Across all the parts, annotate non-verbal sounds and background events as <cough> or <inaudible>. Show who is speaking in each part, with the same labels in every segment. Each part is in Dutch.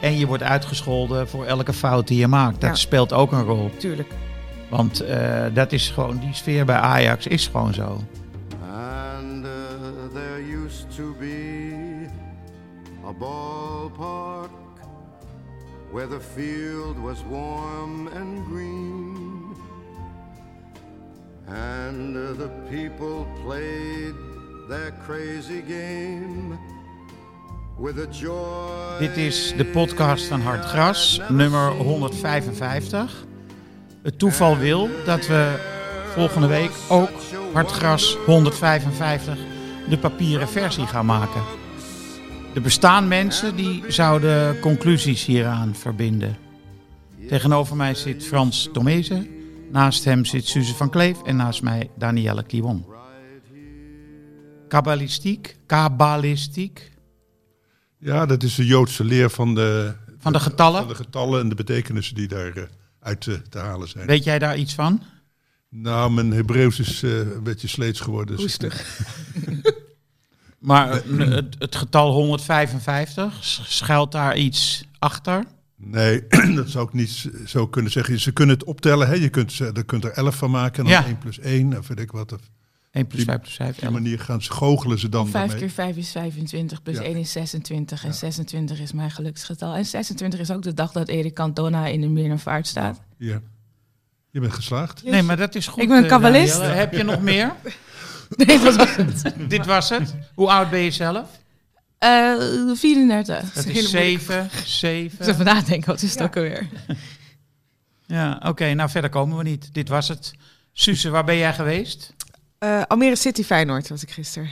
Speaker 1: En je wordt uitgescholden voor elke fout die je maakt. Dat
Speaker 2: Ja.
Speaker 1: speelt ook een rol.
Speaker 2: Tuurlijk.
Speaker 1: Want eh, dat is gewoon, die sfeer bij Ajax is gewoon zo.
Speaker 3: And uh, there used to be a ballpark where the field was warm and green. And uh, the people played their crazy game with a joy.
Speaker 1: Dit is de podcast van Hard Gras, nummer 155. Het toeval wil dat we volgende week ook Hard Gras 155 de papieren versie gaan maken. Er bestaan mensen die zouden conclusies hieraan verbinden. Tegenover mij zit Frans Tomezen, naast hem zit Suze van Kleef en naast mij Danielle Kiwon. Kabbalistiek, kabbalistiek,
Speaker 4: Ja, dat is de Joodse leer van de,
Speaker 1: van de getallen.
Speaker 4: van de getallen en de betekenissen die daaruit uit eh, te halen zijn.
Speaker 1: Weet jij daar iets van?
Speaker 4: Nou, mijn Hebreeuws is eh, een beetje sleets geworden. Dus ik-
Speaker 1: Maar eh, het, het getal 155, sch- schuilt daar iets achter?
Speaker 4: nee, <clears throat> dat zou ik niet z- zo kunnen zeggen. Ze kunnen het optellen, hè? Je kunt, ze- er kunt er 11 van maken en dan
Speaker 1: Ja.
Speaker 4: 1 plus 1 of weet ik wat. Op
Speaker 1: 1 plus
Speaker 4: Die-
Speaker 1: 5 plus 5,
Speaker 4: die manier gaan ze, goochelen ze dan
Speaker 2: Vijf
Speaker 4: daarmee.
Speaker 2: keer vijf is 25, plus
Speaker 4: Ja.
Speaker 2: 1 is 26. En 26 is mijn geluksgetal. En 26 is ook de dag dat Erik Cantona in de Meerdervaart staat.
Speaker 4: Ja. Je bent geslaagd.
Speaker 1: Nee, maar dat is goed.
Speaker 2: Ik ben een
Speaker 1: eh,
Speaker 2: kabbalist.
Speaker 1: Danielle. Heb je nog
Speaker 4: <laughs>
Speaker 1: meer? <laughs>
Speaker 2: <laughs> Nee, dat was het.
Speaker 1: Dit was het. Hoe oud ben je zelf?
Speaker 5: <laughs>
Speaker 2: Eh, 34.
Speaker 1: Dat is 7, 7.
Speaker 2: Even nadenken, wat is dat ook alweer?
Speaker 1: Ja, oké, nou verder komen we niet. Dit was het. Suze, waar ben jij geweest?
Speaker 5: Eh, Almere City Feyenoord was ik gisteren.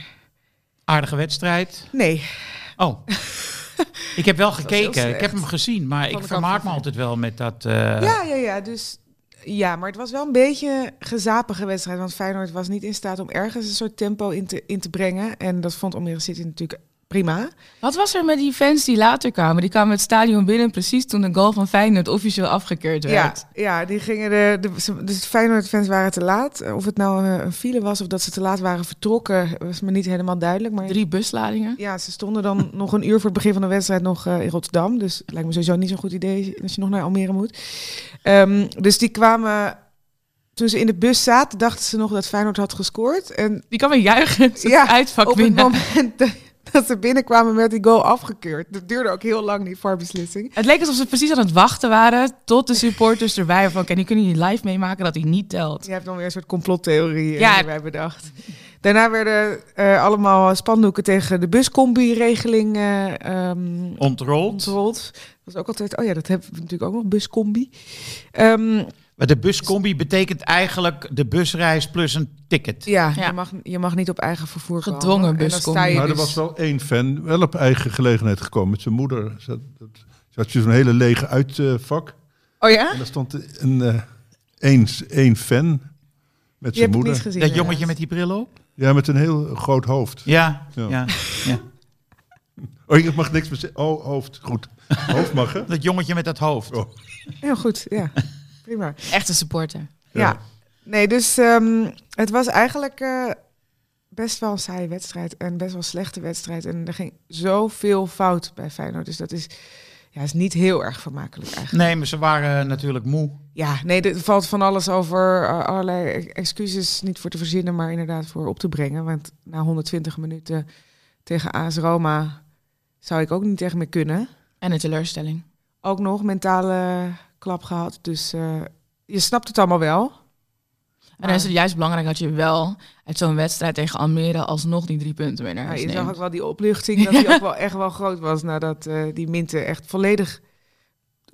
Speaker 1: Aardige wedstrijd.
Speaker 5: Nee, <laughs>
Speaker 1: Oh, ik heb wel
Speaker 5: heel
Speaker 1: gekeken. Ik heb
Speaker 5: slecht.
Speaker 1: hem gezien, maar ik
Speaker 5: de
Speaker 1: vermaak
Speaker 5: kant
Speaker 1: me
Speaker 5: van
Speaker 1: altijd wel met dat... eh,
Speaker 5: ja, ja, ja. Dus ja, maar het was wel een beetje een gezapige wedstrijd. Want Feyenoord was niet in staat om ergens een soort tempo in te, in te brengen. En dat vond Almere City natuurlijk prima.
Speaker 2: Wat was er met die fans die later kwamen? Die kwamen het stadion binnen precies toen de goal van Feyenoord officieel afgekeurd
Speaker 5: Ja,
Speaker 2: werd.
Speaker 5: ja, die gingen de, de, ze- dus de Feyenoord-fans waren te laat. Eh, Of het nou eh, een file was of dat ze te laat waren vertrokken, was me niet helemaal duidelijk. Maar
Speaker 2: Drie busladingen.
Speaker 5: ja, ze stonden dan nog een uur voor het begin van de wedstrijd nog eh, in Rotterdam. Dus het lijkt me sowieso niet zo'n goed idee als je nog naar Almere moet. Ehm, dus die kwamen, toen ze in de bus zaten, dachten ze nog dat Feyenoord had gescoord. En
Speaker 2: Die kwamen juichen het
Speaker 5: Ja,
Speaker 2: uitvak
Speaker 5: op het
Speaker 2: binnen.
Speaker 5: moment <laughs> dat- dat ze binnenkwamen werd die goal afgekeurd. Dat duurde ook heel lang, die VAR-beslissing.
Speaker 2: Het leek alsof ze precies aan het wachten waren tot de supporters erbij waren van... Oké, nu kunnen jullie live meemaken dat hij niet telt.
Speaker 5: Je hebt dan weer een soort complottheorie eh,
Speaker 2: Ja.
Speaker 5: erbij bedacht. Daarna werden eh, allemaal spandoeken tegen de buscombi-regeling eh, ehm,
Speaker 1: Ontrold.
Speaker 5: ontrold. Dat was ook altijd, oh ja, dat hebben we natuurlijk ook nog, buscombi. Ehm,
Speaker 1: Maar de buscombi betekent eigenlijk de busreis plus een ticket.
Speaker 5: ja,
Speaker 2: Ja.
Speaker 5: Je, mag, je mag niet op eigen vervoer komen.
Speaker 2: Gedwongen
Speaker 5: En dan
Speaker 2: buscombi.
Speaker 5: sta je
Speaker 4: Maar er
Speaker 5: dus-
Speaker 4: was wel één fan, wel op eigen gelegenheid gekomen met zijn moeder. Ze had, dat- ze had zo'n hele lege uitvak.
Speaker 5: Oh ja?
Speaker 4: En daar stond een, eh, één, één fan met
Speaker 5: Je hebt
Speaker 4: zijn
Speaker 5: het
Speaker 4: moeder.
Speaker 5: niet gezien.
Speaker 1: Dat jongetje
Speaker 5: inderdaad.
Speaker 1: met die bril op?
Speaker 4: Ja, met een heel groot hoofd.
Speaker 1: Ja, ja.
Speaker 4: Ja. Oh, ik mag niks meer zeggen. Oh, hoofd. Goed. Hoofd mag,
Speaker 5: <laughs>
Speaker 4: hè?
Speaker 1: Dat jongetje met dat hoofd.
Speaker 4: Oh.
Speaker 5: Heel goed, ja. <laughs> Prima.
Speaker 2: Echte supporter.
Speaker 5: Ja. Nee, dus ehm, het was eigenlijk eh, best wel een saaie wedstrijd. En best wel een slechte wedstrijd. En er ging zoveel fout bij Feyenoord. Dus dat is, ja, is niet heel erg vermakelijk eigenlijk.
Speaker 1: Nee, maar ze waren natuurlijk moe.
Speaker 5: Ja, nee, er valt van alles over. eh, allerlei excuses niet voor te verzinnen, maar inderdaad voor op te brengen. Want na 120 minuten tegen AS Roma zou ik ook niet echt meer kunnen.
Speaker 2: En een teleurstelling.
Speaker 5: Ook nog mentale klap gehad. Dus eh, je snapt het allemaal wel.
Speaker 2: En dan is
Speaker 5: Ah.
Speaker 2: het juist belangrijk dat je wel uit zo'n wedstrijd tegen Almere alsnog die drie punten mee naar
Speaker 5: Ja,
Speaker 2: huis
Speaker 5: je zag ook
Speaker 2: neemt.
Speaker 5: wel die opluchting
Speaker 2: <laughs>
Speaker 5: dat die ook wel echt wel groot was nadat eh, die Minte echt volledig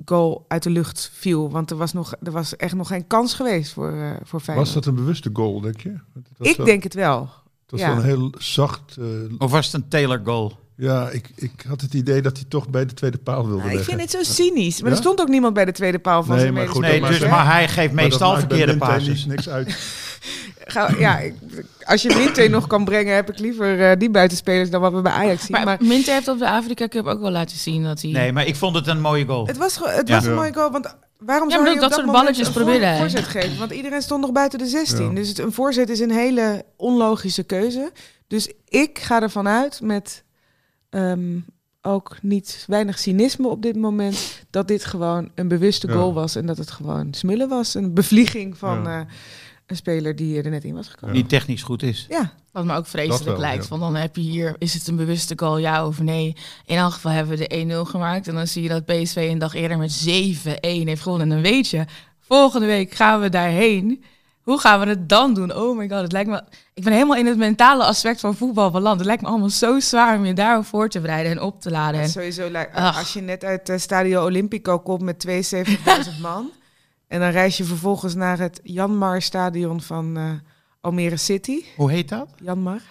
Speaker 5: goal uit de lucht viel. Want er was, nog, er was echt nog geen kans geweest voor, eh voor Feyenoord.
Speaker 4: Was dat een bewuste goal, denk je? Want Het was
Speaker 5: Ik
Speaker 4: wel-
Speaker 5: denk het wel.
Speaker 4: Het was
Speaker 5: ja.
Speaker 4: wel een heel zacht... eh,
Speaker 1: Of was het een Taylor goal?
Speaker 4: Ja, ik, ik had het idee dat hij toch bij de tweede paal wilde
Speaker 5: Nou, ik
Speaker 4: leggen.
Speaker 5: vind het zo cynisch. Maar
Speaker 4: Ja?
Speaker 5: er stond ook niemand bij de tweede paal van
Speaker 4: Nee,
Speaker 5: zijn
Speaker 4: maar
Speaker 1: Nee,
Speaker 4: goed,
Speaker 5: medespeler.
Speaker 4: dat
Speaker 1: dus,
Speaker 4: maakt-
Speaker 1: maar hij geeft
Speaker 4: Maar dat
Speaker 1: meestal
Speaker 4: maakt bij
Speaker 1: verkeerde
Speaker 4: Winter
Speaker 1: passes.
Speaker 4: niet- niks uit.
Speaker 5: Ga- ja, ik- als je Minte nog kan brengen, heb ik liever eh, die buitenspelers dan wat we bij Ajax zien.
Speaker 2: Maar,
Speaker 5: Maar,
Speaker 2: Minte heeft op de Afrika Cup ook wel laten zien dat
Speaker 4: dus-
Speaker 2: hij...
Speaker 1: Nee, maar ik vond het een mooie goal.
Speaker 5: het was, ge- het
Speaker 1: Ja.
Speaker 5: was een
Speaker 4: Ja.
Speaker 5: mooie goal, want waarom
Speaker 2: Ja,
Speaker 5: zou
Speaker 2: maar
Speaker 5: je
Speaker 2: dat
Speaker 5: op dat
Speaker 2: soort
Speaker 5: moment
Speaker 2: balletjes
Speaker 5: een
Speaker 2: probeerde
Speaker 5: voor,
Speaker 2: hij.
Speaker 5: voorzet geven? Want iedereen stond nog buiten de 16.
Speaker 4: Ja.
Speaker 5: Dus het, een voorzet is een hele onlogische keuze. Dus ik ga ervan uit met ehm, ook niet weinig cynisme op dit moment... dat dit gewoon een bewuste
Speaker 4: Ja.
Speaker 5: goal was en dat het gewoon smullen was. Een bevlieging van
Speaker 4: Ja.
Speaker 5: eh, een speler die er net in was gekomen.
Speaker 1: Die technisch goed is.
Speaker 5: Ja,
Speaker 2: Wat me ook vreselijk
Speaker 4: Dat wel,
Speaker 2: lijkt.
Speaker 4: ja.
Speaker 2: Want dan heb je hier, is het een bewuste goal, ja of nee? In elk geval hebben we de 1-0 gemaakt. En dan zie je dat PSV een dag eerder met 7-1 heeft gewonnen. En dan weet je, volgende week gaan we daarheen. Hoe gaan we het dan doen? Oh my god, het lijkt me... Ik ben helemaal in het mentale aspect van voetbal beland. Het lijkt me allemaal zo zwaar om je daarop voor te bereiden en op te laden.
Speaker 5: Ja,
Speaker 2: En
Speaker 5: sowieso, lijkt-
Speaker 2: Ach.
Speaker 5: als je net uit eh, Stadio Olimpico komt met
Speaker 2: <laughs>
Speaker 5: 72.000 man... en dan reis je vervolgens naar het Janmar Stadion van eh, Almere City.
Speaker 1: Hoe heet dat?
Speaker 5: Janmar.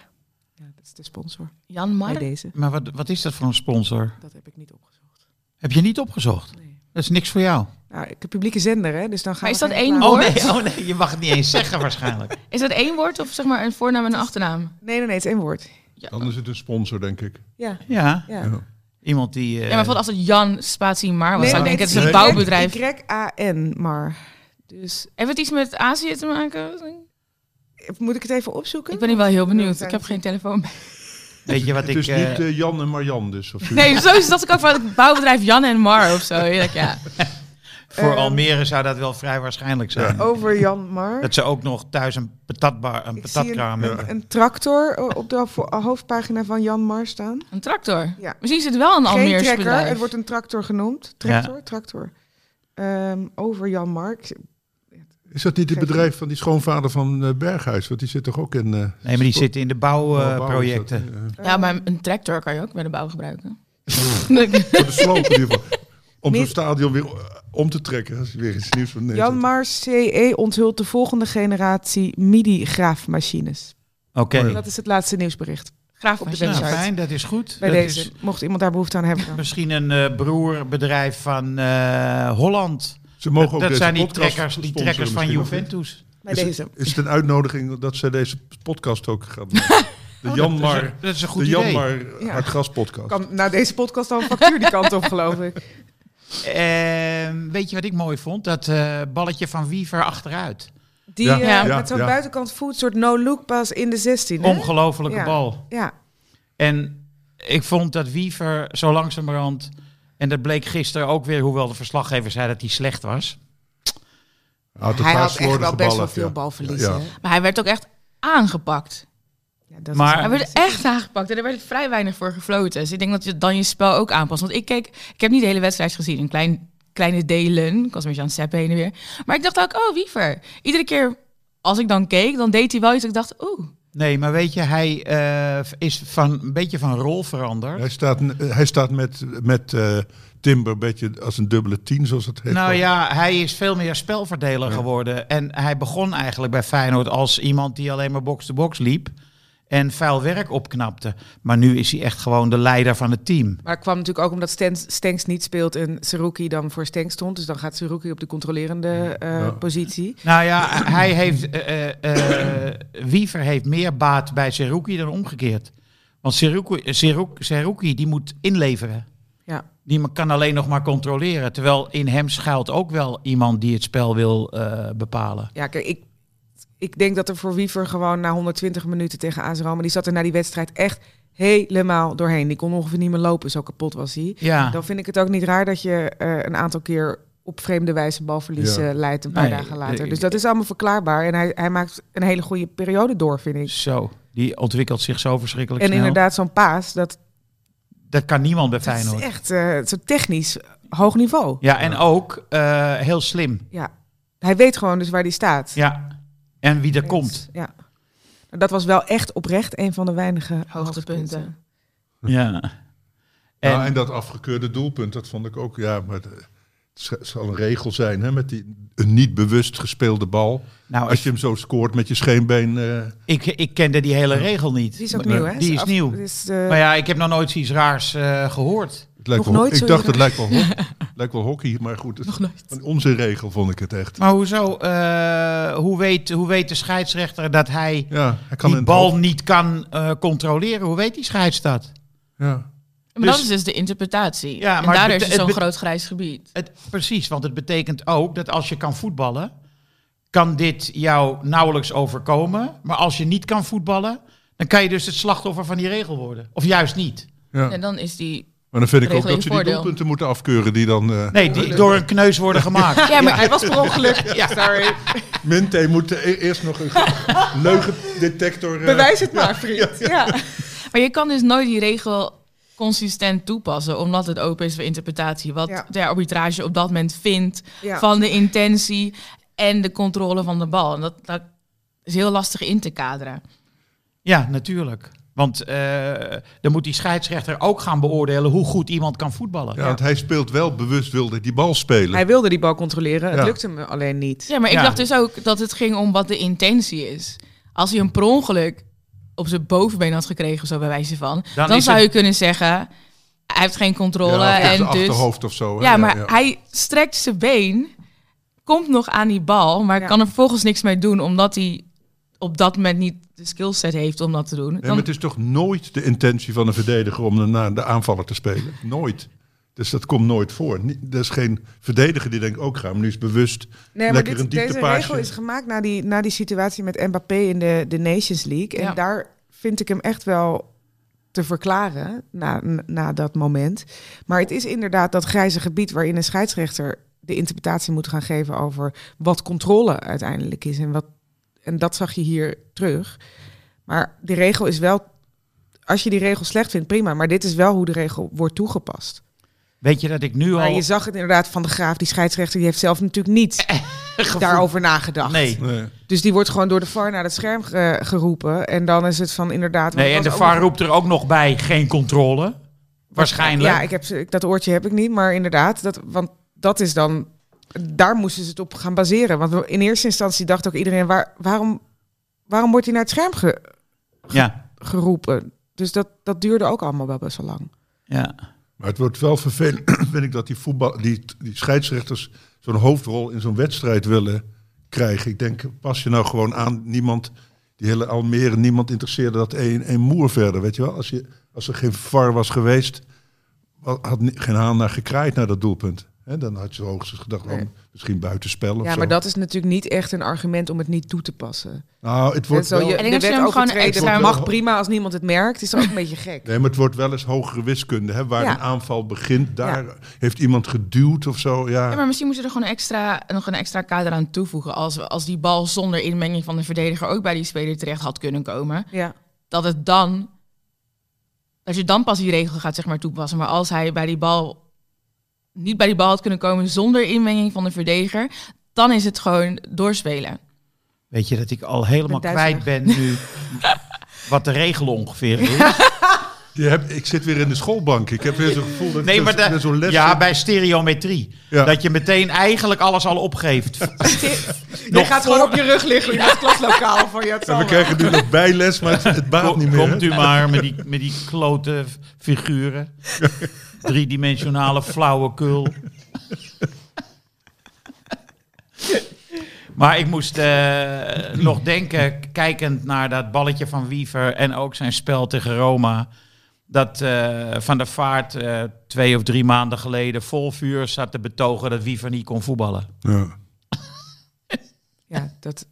Speaker 5: Ja, dat is de sponsor
Speaker 2: Jan Mar,
Speaker 5: bij deze.
Speaker 1: Maar wat, wat is dat voor een sponsor?
Speaker 5: Dat heb ik niet opgezocht.
Speaker 1: Heb je niet opgezocht?
Speaker 5: Nee.
Speaker 1: Dat is niks voor jou.
Speaker 5: Nou, ik heb publieke zender, hè, dus dan gaan
Speaker 2: Maar
Speaker 5: we
Speaker 2: is dat
Speaker 5: geen
Speaker 2: één
Speaker 5: reclame-
Speaker 1: Oh
Speaker 2: Hoor.
Speaker 1: nee, oh nee, je mag het niet eens zeggen waarschijnlijk.
Speaker 2: is dat één woord of zeg maar een voornaam en een achternaam?
Speaker 5: Nee, nee, nee, het is één woord.
Speaker 2: Ja,
Speaker 4: Dan is het een sponsor, denk ik.
Speaker 5: Ja,
Speaker 1: Ja,
Speaker 5: ja.
Speaker 4: Ja.
Speaker 1: iemand die... eh,
Speaker 2: ja maar bijvoorbeeld als het Jan Spatie Mar was,
Speaker 5: Nee,
Speaker 2: zou ik
Speaker 5: nee,
Speaker 2: denken, het is een
Speaker 5: Y-
Speaker 2: bouwbedrijf.
Speaker 5: Y-A-N, maar... Dus
Speaker 2: Heeft het iets met Azië te maken?
Speaker 5: eh, moet ik het even opzoeken?
Speaker 2: Ik ben hier wel heel benieuwd.
Speaker 5: zijn
Speaker 2: Ik heb geen telefoon bij.
Speaker 1: weet je wat
Speaker 4: Het
Speaker 1: ik...
Speaker 4: is
Speaker 1: eh,
Speaker 4: niet eh, Jan en Marjan dus. Of zoiets.
Speaker 2: Nee, zo zat ik ook van het bouwbedrijf Jan en Mar of zo. Heerlijk, ja.
Speaker 1: voor
Speaker 5: Ehm,
Speaker 1: Almere zou dat wel vrij waarschijnlijk zijn.
Speaker 5: Over Janmar.
Speaker 1: Dat ze ook nog thuis een patatbar, een
Speaker 5: Ik zie
Speaker 1: patatkraam
Speaker 4: een-
Speaker 1: hebben.
Speaker 5: Een tractor eh, op de ho- hoofdpagina van Janmar staan.
Speaker 2: Een tractor.
Speaker 5: Ja.
Speaker 2: Misschien zit wel een
Speaker 5: Geen
Speaker 2: Almeers
Speaker 5: trekker,
Speaker 2: bedrijf.
Speaker 5: het wordt een tractor genoemd. Tractor, tractor. Ehm, over Jan Mark.
Speaker 4: Is dat niet het
Speaker 5: Geef-
Speaker 4: bedrijf van die schoonvader van eh, Berghuis? Want die zit toch ook in... eh,
Speaker 1: Nee, maar die
Speaker 4: spo-
Speaker 1: zitten in de
Speaker 4: Oh, bouw is dat,
Speaker 1: bouwprojecten.
Speaker 4: eh,
Speaker 5: Ehm,
Speaker 2: Ja, maar een tractor kan je ook bij de bouw gebruiken. <laughs>
Speaker 4: Voor de sloop in ieder geval. Om
Speaker 5: Meer-
Speaker 4: zo'n stadion weer eh, om te trekken. Als je weer iets nieuws van
Speaker 5: Jan Mar CE onthult de volgende generatie MIDI-graafmachines.
Speaker 1: Oké.
Speaker 4: Oh ja.
Speaker 5: Dat is het laatste nieuwsbericht
Speaker 2: Graaf
Speaker 5: Op de
Speaker 1: Nou,
Speaker 5: website.
Speaker 1: fijn, dat is goed.
Speaker 5: bij
Speaker 1: dat
Speaker 5: deze.
Speaker 1: is
Speaker 5: Mocht iemand daar behoefte aan hebben. Dan.
Speaker 1: misschien een eh, broerbedrijf van eh, Holland.
Speaker 4: Ze mogen ook
Speaker 1: dat
Speaker 4: deze
Speaker 1: zijn die
Speaker 4: podcast
Speaker 1: trekkers, die
Speaker 4: sponsoren
Speaker 1: trekkers van
Speaker 4: misschien nog.
Speaker 1: Juventus.
Speaker 5: Bij
Speaker 4: Is het-
Speaker 5: deze.
Speaker 4: Is het een uitnodiging dat zij deze podcast ook gaan
Speaker 5: <laughs> Oh,
Speaker 4: maken? De Jan
Speaker 1: Oh, Dat is
Speaker 4: Mar...
Speaker 1: een- Dat is een goed
Speaker 4: De Jan
Speaker 1: idee.
Speaker 4: Mar
Speaker 5: Ja.
Speaker 4: Hartgras podcast.
Speaker 5: Kan na deze podcast al een factuur die kant op, geloof ik.
Speaker 1: Ehm, weet je wat ik mooi vond? Dat eh, balletje van Wiever achteruit.
Speaker 5: Die
Speaker 4: Ja.
Speaker 5: eh,
Speaker 2: Ja.
Speaker 5: met zo'n
Speaker 4: Ja.
Speaker 5: buitenkant voet, soort no-look pas in de 16. hè?
Speaker 1: Ongelofelijke
Speaker 5: Ja.
Speaker 1: bal.
Speaker 5: Ja,
Speaker 1: En ik vond dat Wiever zo langzamerhand... En dat bleek gisteren ook weer, hoewel de verslaggever zei dat hij slecht was.
Speaker 4: had een
Speaker 5: hij
Speaker 4: paar
Speaker 5: had echt
Speaker 4: slordige
Speaker 5: wel best wel
Speaker 4: ballen,
Speaker 5: veel
Speaker 4: ja.
Speaker 5: balverlies.
Speaker 4: Ja.
Speaker 5: hè?
Speaker 2: Maar hij werd ook echt aangepakt.
Speaker 5: Ja, dat is
Speaker 1: Maar-
Speaker 5: wel
Speaker 2: Hij werd
Speaker 5: precies.
Speaker 2: echt aangepakt en er werd vrij weinig voor gefloten. Dus ik denk dat je dan je spel ook aanpast. Want ik keek, ik heb niet de hele wedstrijd gezien, een klein, kleine delen. Ik was een beetje aan het zappen heen en weer. Maar ik dacht ook, oh Wiever. Iedere keer als ik dan keek, dan deed hij wel iets. dat Ik dacht, oeh.
Speaker 1: Nee, maar weet je, hij eh, is van, een beetje van rol veranderd.
Speaker 4: Hij staat, eh, hij staat met, met eh, Timber een beetje als een dubbele tien, zoals het heet.
Speaker 1: Nou ja, hij is veel meer spelverdeler geworden. En hij begon eigenlijk bij Feyenoord als iemand die alleen maar box-to-box liep. En vuil werk opknapte. Maar nu is hij echt gewoon de leider van het team.
Speaker 5: Maar het kwam natuurlijk ook omdat Stenks, Stenks niet speelt en Seruki dan voor Stenks stond. Dus dan gaat Seruki op de controlerende eh,
Speaker 4: Ja.
Speaker 5: positie.
Speaker 1: Nou ja, hij heeft. eh, eh, eh, Wiever heeft meer baat bij Seruki dan omgekeerd. Want Seruki, eh, Seruk- Seruki die moet inleveren.
Speaker 5: Ja.
Speaker 1: Die ma- kan alleen nog maar controleren. Terwijl in hem schuilt ook wel iemand die het spel wil eh, bepalen.
Speaker 5: Ja, kijk, ik, ik denk dat er voor Wiever gewoon na 120 minuten tegen AS Roma... die zat er na die wedstrijd echt helemaal doorheen. Die kon ongeveer niet meer lopen, zo kapot was hij.
Speaker 1: Ja.
Speaker 5: Dan vind ik het ook niet raar dat je eh, een aantal keer op vreemde wijze balverlies
Speaker 4: Ja.
Speaker 5: eh, leidt een paar
Speaker 1: Nee,
Speaker 5: dagen later.
Speaker 1: eh,
Speaker 5: Dus dat is allemaal verklaarbaar. En hij, hij maakt een hele goede periode door, vind ik.
Speaker 1: Zo, die ontwikkelt zich zo verschrikkelijk
Speaker 5: En
Speaker 1: snel.
Speaker 5: inderdaad, zo'n paas, dat,
Speaker 1: Dat kan niemand bij
Speaker 5: dat is
Speaker 1: Feyenoord.
Speaker 5: echt eh, zo technisch hoog niveau.
Speaker 1: Ja, en ook eh, heel slim.
Speaker 5: Ja, hij weet gewoon dus waar hij staat. Dus,
Speaker 1: Ja. En wie er komt.
Speaker 5: Ja. Dat was wel echt oprecht een van de weinige hoogtepunten.
Speaker 1: Ja.
Speaker 4: Nou, en,
Speaker 1: En,
Speaker 4: Nou, dat afgekeurde doelpunt, dat vond ik ook. Ja, maar de- z- zal een regel zijn hè, met die een niet bewust gespeelde bal.
Speaker 1: Nou,
Speaker 4: Als je hem zo scoort met je scheenbeen. eh,
Speaker 1: ik, ik kende die hele regel niet.
Speaker 5: Die is ook
Speaker 4: Maar-
Speaker 5: nieuw, hè?
Speaker 1: die is
Speaker 5: Af- dus, eh,
Speaker 1: nieuw.
Speaker 5: dit is de-
Speaker 1: Maar ja, ik heb nog nooit iets raars eh, gehoord.
Speaker 4: het lijkt
Speaker 5: Nog
Speaker 4: wel,
Speaker 5: nooit
Speaker 4: ik
Speaker 5: zo
Speaker 4: dacht, het
Speaker 5: eerder.
Speaker 4: lijkt wel, ho-
Speaker 2: <laughs>
Speaker 4: lijkt wel hockey, maar goed. Het, Een onzinregel vond ik het echt.
Speaker 1: Maar hoezo? eh, hoe, weet, hoe weet de scheidsrechter dat hij
Speaker 4: Ja, hij kan in
Speaker 1: die
Speaker 4: het
Speaker 1: bal
Speaker 4: hoofd-
Speaker 1: niet kan eh, controleren? Hoe weet die scheids dat?
Speaker 4: Ja.
Speaker 2: Maar
Speaker 1: Dus-
Speaker 2: dat is dus de
Speaker 1: Ja,
Speaker 2: interpretatie.
Speaker 1: maar
Speaker 2: en
Speaker 1: het
Speaker 2: daardoor
Speaker 1: bete-
Speaker 2: is het
Speaker 1: het
Speaker 2: zo'n
Speaker 1: bet-
Speaker 2: groot grijs gebied.
Speaker 1: Het, precies, want het betekent ook dat als je kan voetballen, kan dit jou nauwelijks overkomen. Maar als je niet kan voetballen, dan kan je dus het slachtoffer van die regel worden. Of juist niet.
Speaker 4: Ja.
Speaker 2: En dan is die...
Speaker 4: Maar dan vind ik ook
Speaker 2: Regel in
Speaker 4: dat ze die
Speaker 2: voordeel.
Speaker 4: doelpunten moeten afkeuren die dan... eh <laughs>
Speaker 1: Nee, die door een kneus worden gemaakt.
Speaker 2: Ja, maar hij was per ongeluk.
Speaker 5: <laughs>
Speaker 1: Ja.
Speaker 2: Sorry.
Speaker 4: Minte moet e- eerst nog een
Speaker 2: <laughs>
Speaker 4: leugendetector... eh,
Speaker 5: Bewijs het maar, vriend. Ja.
Speaker 1: <laughs>
Speaker 2: Maar je kan dus nooit die regel consistent toepassen, omdat het open is voor interpretatie. Wat
Speaker 5: Ja.
Speaker 2: de arbitrage op dat moment vindt
Speaker 5: Ja.
Speaker 2: van de intentie en de controle van de bal. En dat, dat is heel lastig in te kaderen.
Speaker 1: Ja, natuurlijk. Want eh, dan moet die scheidsrechter ook gaan beoordelen hoe goed iemand kan voetballen.
Speaker 4: Ja, want hij speelt wel bewust, wilde die bal spelen.
Speaker 5: Hij wilde die bal controleren,
Speaker 4: Ja.
Speaker 5: het lukte hem alleen niet.
Speaker 2: Ja, maar ik
Speaker 1: Ja.
Speaker 2: dacht dus ook dat het ging om wat de intentie is. Als hij een per ongeluk op zijn bovenbeen had gekregen, zo bij wijze van,
Speaker 1: Dan
Speaker 2: dan,
Speaker 1: is
Speaker 2: zou
Speaker 1: het-
Speaker 2: je kunnen zeggen, hij heeft geen controle
Speaker 4: Ja, of op
Speaker 2: en
Speaker 4: zijn
Speaker 2: dus...
Speaker 4: achterhoofd of zo. hè.
Speaker 2: Ja, maar hij strekt zijn been, komt nog aan die bal, maar
Speaker 5: Ja.
Speaker 2: kan er vervolgens niks mee doen omdat hij op dat moment niet de skillset heeft om dat te doen.
Speaker 4: Nee, maar
Speaker 2: Dan,
Speaker 4: het is toch nooit de intentie van een verdediger om dan naar de aanvaller te spelen? Nooit. Dus dat komt nooit voor. Niet- Er is geen verdediger die denkt, ook ik ga hem nu eens bewust
Speaker 5: Nee, maar
Speaker 4: lekker
Speaker 5: dit,
Speaker 4: een
Speaker 5: deze
Speaker 4: dieptepaasje.
Speaker 5: regel is gemaakt na die, na die situatie met Mbappé in de, de Nations League. En
Speaker 2: Ja.
Speaker 5: daar vind ik hem echt wel te verklaren na, na dat moment. Maar het is inderdaad dat grijze gebied waarin een scheidsrechter de interpretatie moet gaan geven over wat controle uiteindelijk is. En, wat, en dat zag je hier terug. Maar die regel is wel, als je die regel slecht vindt, prima. Maar dit is wel hoe de regel wordt toegepast.
Speaker 1: Weet je dat ik nu
Speaker 5: Maar
Speaker 1: al...
Speaker 5: je zag het inderdaad van de graaf, die scheidsrechter, die heeft zelf natuurlijk niet
Speaker 1: <laughs> gevoel-
Speaker 5: daarover nagedacht.
Speaker 1: Nee.
Speaker 4: Nee.
Speaker 5: Dus die wordt gewoon door de VAR naar het scherm ge- geroepen. En dan is het van inderdaad... want
Speaker 1: Nee, en
Speaker 5: het
Speaker 1: de
Speaker 5: was ook
Speaker 1: VAR
Speaker 5: nog-
Speaker 1: roept er ook nog bij geen controle. Waarschijnlijk.
Speaker 5: Ja, ik heb, ze- ik- dat oortje heb ik niet. Maar inderdaad, dat, want dat is dan... Daar moesten ze het op gaan baseren. Want we- in eerste instantie dacht ook iedereen... Waar, waarom, waarom wordt hij naar het scherm ge-
Speaker 1: ja.
Speaker 5: geroepen? Dus dat, dat duurde ook allemaal wel best wel lang.
Speaker 1: ja.
Speaker 4: Maar het wordt wel vervelend, <clears throat> vind ik, dat die, voetbal, die, die scheidsrechters zo'n hoofdrol in zo'n wedstrijd willen krijgen. Ik denk, pas je nou gewoon aan, niemand, die hele Almere, niemand interesseerde dat één, één moer verder, weet je wel. Als, je, als er geen VAR was geweest, wa- had ni- geen haan naar gekraaid naar dat doelpunt. Hè, dan had je hoogstens gedacht, oh,
Speaker 5: Nee.
Speaker 4: misschien buitenspel of
Speaker 5: Ja,
Speaker 4: zo.
Speaker 5: maar dat is natuurlijk niet echt een argument om het niet toe te passen.
Speaker 4: nou, het
Speaker 5: Net
Speaker 4: wordt
Speaker 5: zo,
Speaker 4: wel,
Speaker 5: je,
Speaker 2: Ik denk
Speaker 5: de
Speaker 2: dat ze
Speaker 5: wet
Speaker 2: hem gewoon
Speaker 5: overtreden
Speaker 2: extra-
Speaker 5: mag prima als niemand het merkt. Is toch <laughs> ook een beetje gek?
Speaker 4: Nee, maar het wordt wel eens hogere wiskunde. Hè, waar
Speaker 5: Ja.
Speaker 4: een aanval begint, daar heeft iemand geduwd of zo. Ja.
Speaker 2: ja, maar misschien moeten we er gewoon extra, nog een extra kader aan toevoegen. Als, we- als die bal zonder inmenging van de verdediger ook bij die speler terecht had kunnen komen.
Speaker 5: Ja.
Speaker 2: Dat het dan, dat je dan pas die regel gaat zeg maar, toepassen. Maar als hij bij die bal niet bij die bal had kunnen komen zonder inmenging van de verdediger, dan is het gewoon doorspelen.
Speaker 1: Weet je dat ik al helemaal
Speaker 5: ben
Speaker 1: kwijt
Speaker 5: duizelig.
Speaker 1: ben nu <laughs> wat de regel ongeveer is?
Speaker 4: Je hebt, ik zit weer in de schoolbank. Ik heb weer zo'n gevoel dat
Speaker 1: Nee,
Speaker 4: ik
Speaker 1: maar
Speaker 4: weer-
Speaker 1: de-
Speaker 4: weer zo'n les
Speaker 1: ja,
Speaker 4: heb.
Speaker 1: bij stereometrie.
Speaker 4: Ja.
Speaker 1: Dat je meteen eigenlijk alles al opgeeft.
Speaker 5: Je
Speaker 1: Nog
Speaker 5: gaat
Speaker 1: voor-
Speaker 5: gewoon op je rug liggen in het klaslokaal van je het
Speaker 4: En we
Speaker 5: zal wel.
Speaker 4: krijgen nu nog
Speaker 1: <laughs>
Speaker 4: bijles, maar het, het baat
Speaker 1: Kom-
Speaker 4: niet meer. hè?
Speaker 1: Komt u maar met die, met die klote f-
Speaker 4: <laughs>
Speaker 1: figuren. Driedimensionale flauwekul. Maar ik moest eh, nog denken, k- kijkend naar dat balletje van Wiever en ook zijn spel tegen Roma. Dat eh, Van der Vaart eh, twee of drie maanden geleden vol vuur zat te betogen dat Wiever niet kon voetballen.
Speaker 4: Ja.
Speaker 5: <laughs> Ja, dat,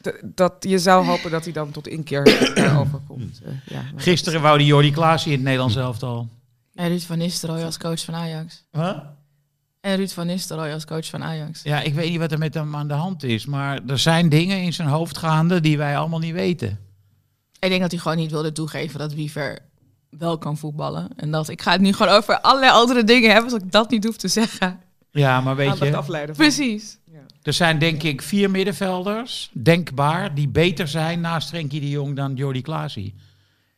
Speaker 5: dat, dat- je zou hopen dat hij dan tot <coughs> inkeer daarover komt. Eh, ja, maar dat
Speaker 1: Gisteren wou die Jordi Klaas in het Nederlands elftal.
Speaker 2: En Ruud van Nistelrooy als coach van Ajax.
Speaker 1: Huh?
Speaker 2: En Ruud van Nistelrooy als coach van Ajax.
Speaker 1: Ja, ik weet niet wat er met hem aan de hand is. Maar er zijn dingen in zijn hoofd gaande die wij allemaal niet weten.
Speaker 2: Ik denk dat hij gewoon niet wilde toegeven dat Wiever wel kan voetballen. En dat ik ga het nu gewoon over allerlei andere dingen hebben, zodat ik dat niet hoef te zeggen.
Speaker 1: Ja, maar
Speaker 5: is
Speaker 2: Nou,
Speaker 1: weet
Speaker 5: Aandacht
Speaker 1: je,
Speaker 5: afleiden van.
Speaker 2: Precies.
Speaker 1: er zijn denk ik vier middenvelders, denkbaar, die beter zijn naast Frenkie de Jong dan Jordi Klaasie.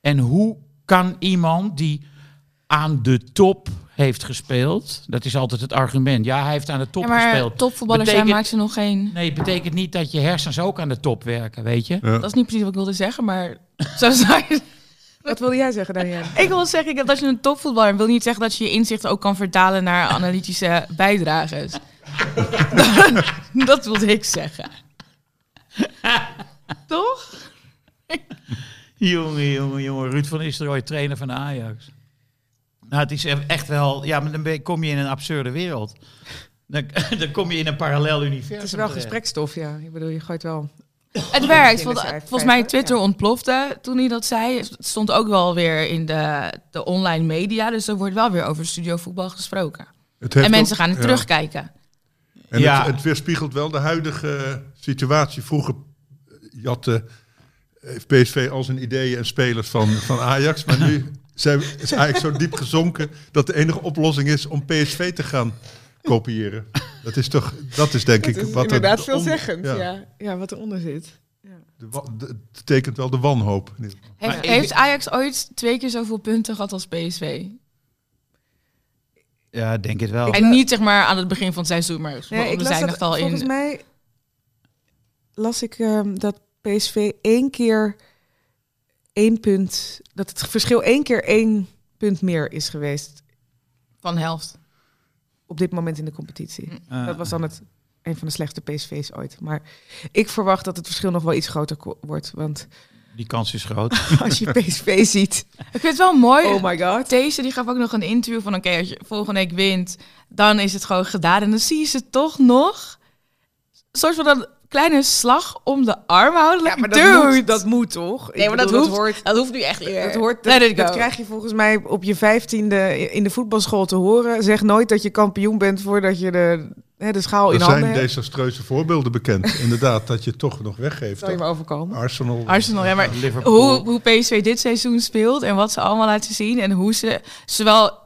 Speaker 1: En hoe kan iemand die aan de top heeft gespeeld. Dat is altijd het argument. Ja, hij heeft aan de top
Speaker 2: Ja, maar
Speaker 1: gespeeld.
Speaker 2: topvoetballers zijn
Speaker 1: Betekent-
Speaker 2: maakt ze nog geen...
Speaker 1: Nee, het betekent niet dat je hersens ook aan de top werken, weet je?
Speaker 2: Dat is niet precies wat ik wilde zeggen, maar <laughs> zo zou je...
Speaker 5: Wat wilde jij zeggen, Daniel?
Speaker 2: Ik wil zeggen, ik heb- dat je een topvoetballer wil niet zeggen dat je je inzichten ook kan vertalen naar analytische bijdrages. <laughs> dat wilde ik zeggen. <laughs> Toch?
Speaker 1: Jongen, jongen, jongen. Ruud van Nistelrooy, trainer van Ajax. Nou, het is e- echt wel... Ja, maar dan ben- kom je in een absurde wereld. Dan, <laughs> dan kom je in een parallel universum
Speaker 5: Het is wel
Speaker 1: terecht.
Speaker 5: gesprekstof, ja. Ik bedoel, je gooit wel...
Speaker 2: Het werkt.
Speaker 5: Misschien
Speaker 2: Want,
Speaker 5: is hij
Speaker 2: volgens mij
Speaker 5: vijver,
Speaker 2: Twitter
Speaker 5: ja.
Speaker 2: ontplofte toen hij dat zei. Het stond ook wel weer in de, de online media. Dus er wordt wel weer over studiovoetbal gesproken.
Speaker 4: Het heeft
Speaker 2: en mensen
Speaker 4: ook-
Speaker 2: gaan het
Speaker 4: ja.
Speaker 2: terugkijken.
Speaker 4: En
Speaker 1: Ja.
Speaker 4: het, het weerspiegelt wel de huidige eh, situatie. Vroeger jatte eh, heeft PSV al zijn ideeën en spelers van, van Ajax. Maar nu
Speaker 1: <laughs>
Speaker 4: zijn, is Ajax zo diep gezonken dat de enige oplossing is om PSV te gaan kopiëren. Dat is toch, dat is denk
Speaker 5: Het
Speaker 4: ik
Speaker 5: is
Speaker 4: wat
Speaker 5: inderdaad
Speaker 4: er
Speaker 5: veelzeggend,
Speaker 4: on-
Speaker 5: ja. Ja. wat eronder zit.
Speaker 4: de wa- de- het tekent wel de wanhoop.
Speaker 2: Heeft,
Speaker 1: Maar ik-
Speaker 2: heeft Ajax ooit twee keer zoveel punten gehad als PSV?
Speaker 1: Ja, ik denk het wel.
Speaker 2: En niet zeg maar aan het begin van het seizoen, maar
Speaker 5: Nee,
Speaker 2: we
Speaker 5: ik las
Speaker 2: zijn
Speaker 5: dat,
Speaker 2: echt al in.
Speaker 5: volgens mij las ik ehm, dat PSV één keer één punt... Dat het verschil één keer één punt meer is geweest
Speaker 2: Van helft.
Speaker 5: op dit moment in de competitie.
Speaker 1: Eh,
Speaker 5: Dat was dan het, een van de slechtste PSV's ooit. Maar ik verwacht dat het verschil nog wel iets groter ko- wordt. Want
Speaker 1: Die kans is
Speaker 5: <laughs>
Speaker 1: groot.
Speaker 2: <laughs>
Speaker 5: als je PSV ziet,
Speaker 2: Ik vind het wel mooi.
Speaker 5: oh my god.
Speaker 2: Deze die gaf ook nog een interview van oké, als je volgende week wint, dan is het gewoon gedaan. En dan zie je ze toch nog een soort van een kleine slag om de arm houden. Ja,
Speaker 5: dat moet, dat moet toch? Ik
Speaker 2: nee, maar dat
Speaker 5: bedoel,
Speaker 2: hoeft,
Speaker 5: dat hoort.
Speaker 2: dat hoeft nu echt weer.
Speaker 5: Eh, Dat, hoort,
Speaker 2: Let
Speaker 5: dat,
Speaker 2: it go.
Speaker 5: dat krijg je volgens mij op je vijftiende in de voetbalschool te horen. Zeg nooit dat je kampioen bent voordat je de, hè, de schaal
Speaker 4: Er
Speaker 5: Oh, in handen
Speaker 4: zijn
Speaker 5: hebt.
Speaker 4: desastreuze voorbeelden bekend. Inderdaad, dat je het toch nog weggeeft.
Speaker 5: Zou je maar overkomen.
Speaker 4: Arsenal.
Speaker 2: Arsenal, ja, maar
Speaker 1: Liverpool.
Speaker 2: hoe, hoe PSV dit seizoen speelt en wat ze allemaal laten zien en hoe ze zowel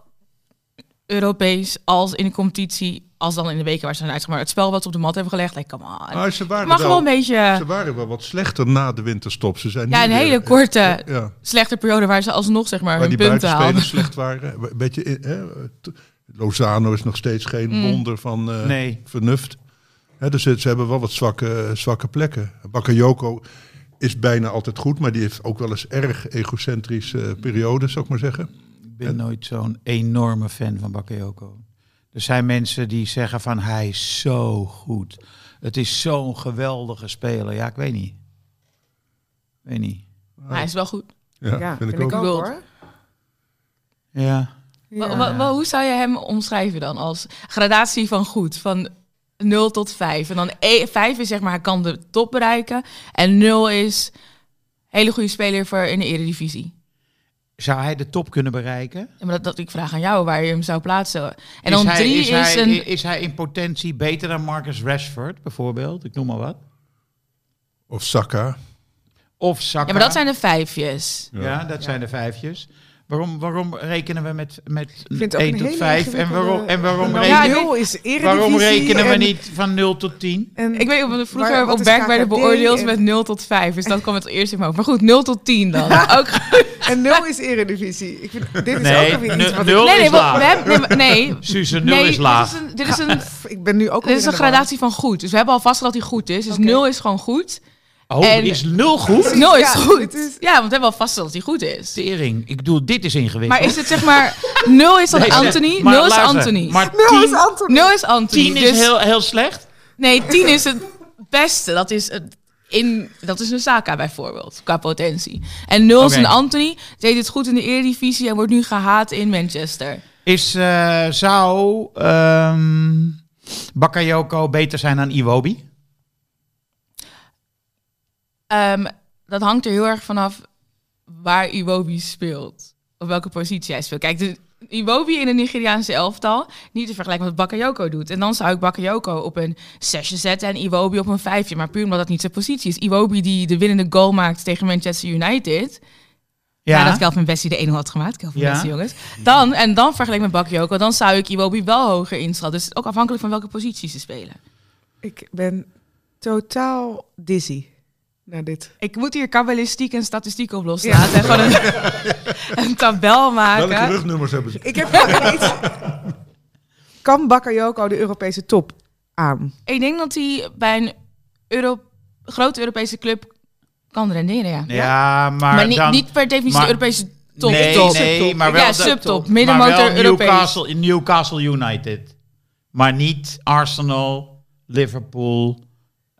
Speaker 2: Europees als in de competitie als dan in de weken waar ze zijn uitgemaakt. Het spel wat ze op de mat hebben gelegd, like, come on.
Speaker 4: Maar ze waren
Speaker 2: mag
Speaker 4: Nou, wel-
Speaker 2: wel een beetje
Speaker 4: Ze waren wel wat slechter na de winterstop. Ze zijn
Speaker 2: ja,
Speaker 4: nu
Speaker 2: een
Speaker 4: weer-
Speaker 2: hele korte,
Speaker 4: Ja.
Speaker 2: slechte periode waar ze alsnog zeg maar
Speaker 4: Waar
Speaker 2: hun
Speaker 4: die
Speaker 2: punten haalden.
Speaker 4: buitenspelers slecht waren. Een beetje, hè, t- Lozano is nog steeds geen wonder van eh,
Speaker 1: Nee.
Speaker 4: vernuft. Hè, dus ze, ze hebben wel wat zwakke, zwakke plekken. Bakayoko is bijna altijd goed, maar die heeft ook wel eens erg egocentrische eh, periodes, zou ik maar zeggen.
Speaker 1: Ik ben nooit zo'n enorme fan van Bakayoko. Er zijn mensen die zeggen van hij is zo goed. Het is zo'n geweldige speler. Ja, ik weet niet. Ik weet niet.
Speaker 2: Maar hij is wel goed.
Speaker 4: Ja,
Speaker 5: Ja,
Speaker 4: vind ik ook.
Speaker 2: ook.
Speaker 5: hoor.
Speaker 1: Ja.
Speaker 5: Ja.
Speaker 2: Wa- wa- wa- hoe zou je hem omschrijven dan als gradatie van goed? Van 0 tot 5. En dan e- 5 is zeg maar hij kan de top bereiken. En 0 is hele goede speler voor in de eredivisie.
Speaker 1: Zou hij de top kunnen bereiken?
Speaker 2: Ja, maar dat, dat ik vraag aan jou waar je hem zou plaatsen. En
Speaker 1: is
Speaker 2: dan
Speaker 1: hij,
Speaker 2: 3
Speaker 1: is,
Speaker 2: is,
Speaker 1: hij,
Speaker 2: een.
Speaker 1: is hij in potentie beter dan Marcus Rashford bijvoorbeeld? Ik noem maar wat.
Speaker 4: Of Saka.
Speaker 1: Of Saka.
Speaker 2: Ja, maar dat zijn de vijfjes.
Speaker 1: Ja, dat zijn de vijfjes. Waarom, waarom rekenen we met, met
Speaker 5: Ik vind het ook
Speaker 1: 1
Speaker 5: een
Speaker 1: tot
Speaker 5: hele
Speaker 1: 5? En waarom, en waarom,
Speaker 5: Nou,
Speaker 2: rekenen-
Speaker 1: rekenen,
Speaker 5: nul is eredivisie
Speaker 1: waarom rekenen we
Speaker 5: en-
Speaker 1: niet van 0 tot 10?
Speaker 5: en-
Speaker 2: Ik weet niet, want vroeger
Speaker 5: Waar- wat
Speaker 2: op
Speaker 5: is
Speaker 2: werk werden
Speaker 5: KKD
Speaker 2: beoordeeld
Speaker 5: en-
Speaker 2: met 0 tot 5. Dus dat kwam het eerst in mijn hoofd. Maar goed, 0 tot 10
Speaker 5: <laughs>
Speaker 2: dan. Ook
Speaker 5: En nul is eredivisie. Ik vind, dit is
Speaker 1: Nee,
Speaker 5: ook alweer
Speaker 1: nu-
Speaker 5: iets wat
Speaker 1: nul.
Speaker 5: ik...
Speaker 2: Nee, nee,
Speaker 1: is
Speaker 2: we,
Speaker 1: laag.
Speaker 2: we hebben, nee,
Speaker 1: <laughs>
Speaker 2: maar- nee.
Speaker 1: Suze, 0
Speaker 2: nee,
Speaker 1: is laag.
Speaker 2: Dit is een, dit is een,
Speaker 5: Pff, Ik ben nu <laughs> ook
Speaker 2: dit is
Speaker 5: alweer
Speaker 2: een
Speaker 5: in de war.
Speaker 2: gradatie van goed. Dus we hebben al vast dat hij goed is. Dus
Speaker 5: Oké.
Speaker 2: 0 is gewoon goed.
Speaker 1: Oh,
Speaker 2: En-
Speaker 1: is nul goed?
Speaker 2: 0 is
Speaker 5: Ja,
Speaker 2: goed.
Speaker 5: dit is-
Speaker 2: Ja, want we hebben al vast dat hij goed is.
Speaker 1: Tering. Ik bedoel, dit is ingewikkeld.
Speaker 2: Maar is het zeg maar... 0 is dan
Speaker 1: Nee,
Speaker 2: Anthony.
Speaker 1: maar
Speaker 2: 0 is
Speaker 1: luister,
Speaker 2: Anthony.
Speaker 1: Maar 10,
Speaker 5: Nul is Anton.
Speaker 2: 0 is Anthony.
Speaker 1: 10 is
Speaker 2: Dus,
Speaker 1: heel, heel slecht?
Speaker 2: nee, 10 is het beste. Dat is het... In, dat is een Saka bijvoorbeeld, qua potentie. En 0 is
Speaker 1: Oké.
Speaker 2: een Anthony, deed het goed in de Eredivisie en wordt nu gehaat in Manchester.
Speaker 1: Is, eh, zou ehm Bakayoko beter zijn dan Iwobi?
Speaker 2: Ehm, dat hangt er heel erg vanaf waar Iwobi speelt. Op welke positie hij speelt. Kijk, de, Iwobi in een Nigeriaanse elftal, niet te vergelijken met wat Bakayoko doet. En dan zou ik Bakayoko op een zesje zetten en Iwobi op een vijfje. Maar puur omdat dat niet zijn positie is. Iwobi die de winnende goal maakt tegen Manchester United. Ja. Nadat Kelvin Bessie de 1-0 had gemaakt. Kelvin
Speaker 1: Ja.
Speaker 2: Bessie, jongens. Dan, en dan vergeleken met Bakayoko, dan zou ik Iwobi wel hoger inschatten. Dus ook afhankelijk van welke positie ze spelen.
Speaker 5: Ik ben totaal dizzy. naar dit.
Speaker 2: Ik moet hier kabbalistiek en statistiek op loslaten. En gewoon een, <laughs> een tabel
Speaker 4: Welke
Speaker 2: maken.
Speaker 4: rugnummers hebben ze?
Speaker 5: Ik heb wel <laughs> iets. Kan Bakayoko de Europese top aan?
Speaker 2: Ik denk dat hij bij een Euro, grote Europese club kan renderen, ja.
Speaker 1: Ja, maar,
Speaker 2: Maar niet,
Speaker 1: dan...
Speaker 2: niet per definitie
Speaker 1: maar-
Speaker 2: de Europese top.
Speaker 1: nee,
Speaker 2: top.
Speaker 1: nee, maar wel...
Speaker 2: ja,
Speaker 1: de- maar
Speaker 2: subtop.
Speaker 1: wel
Speaker 2: Middenmotor Europees.
Speaker 1: Newcastle, Newcastle United. Maar niet Arsenal, Liverpool,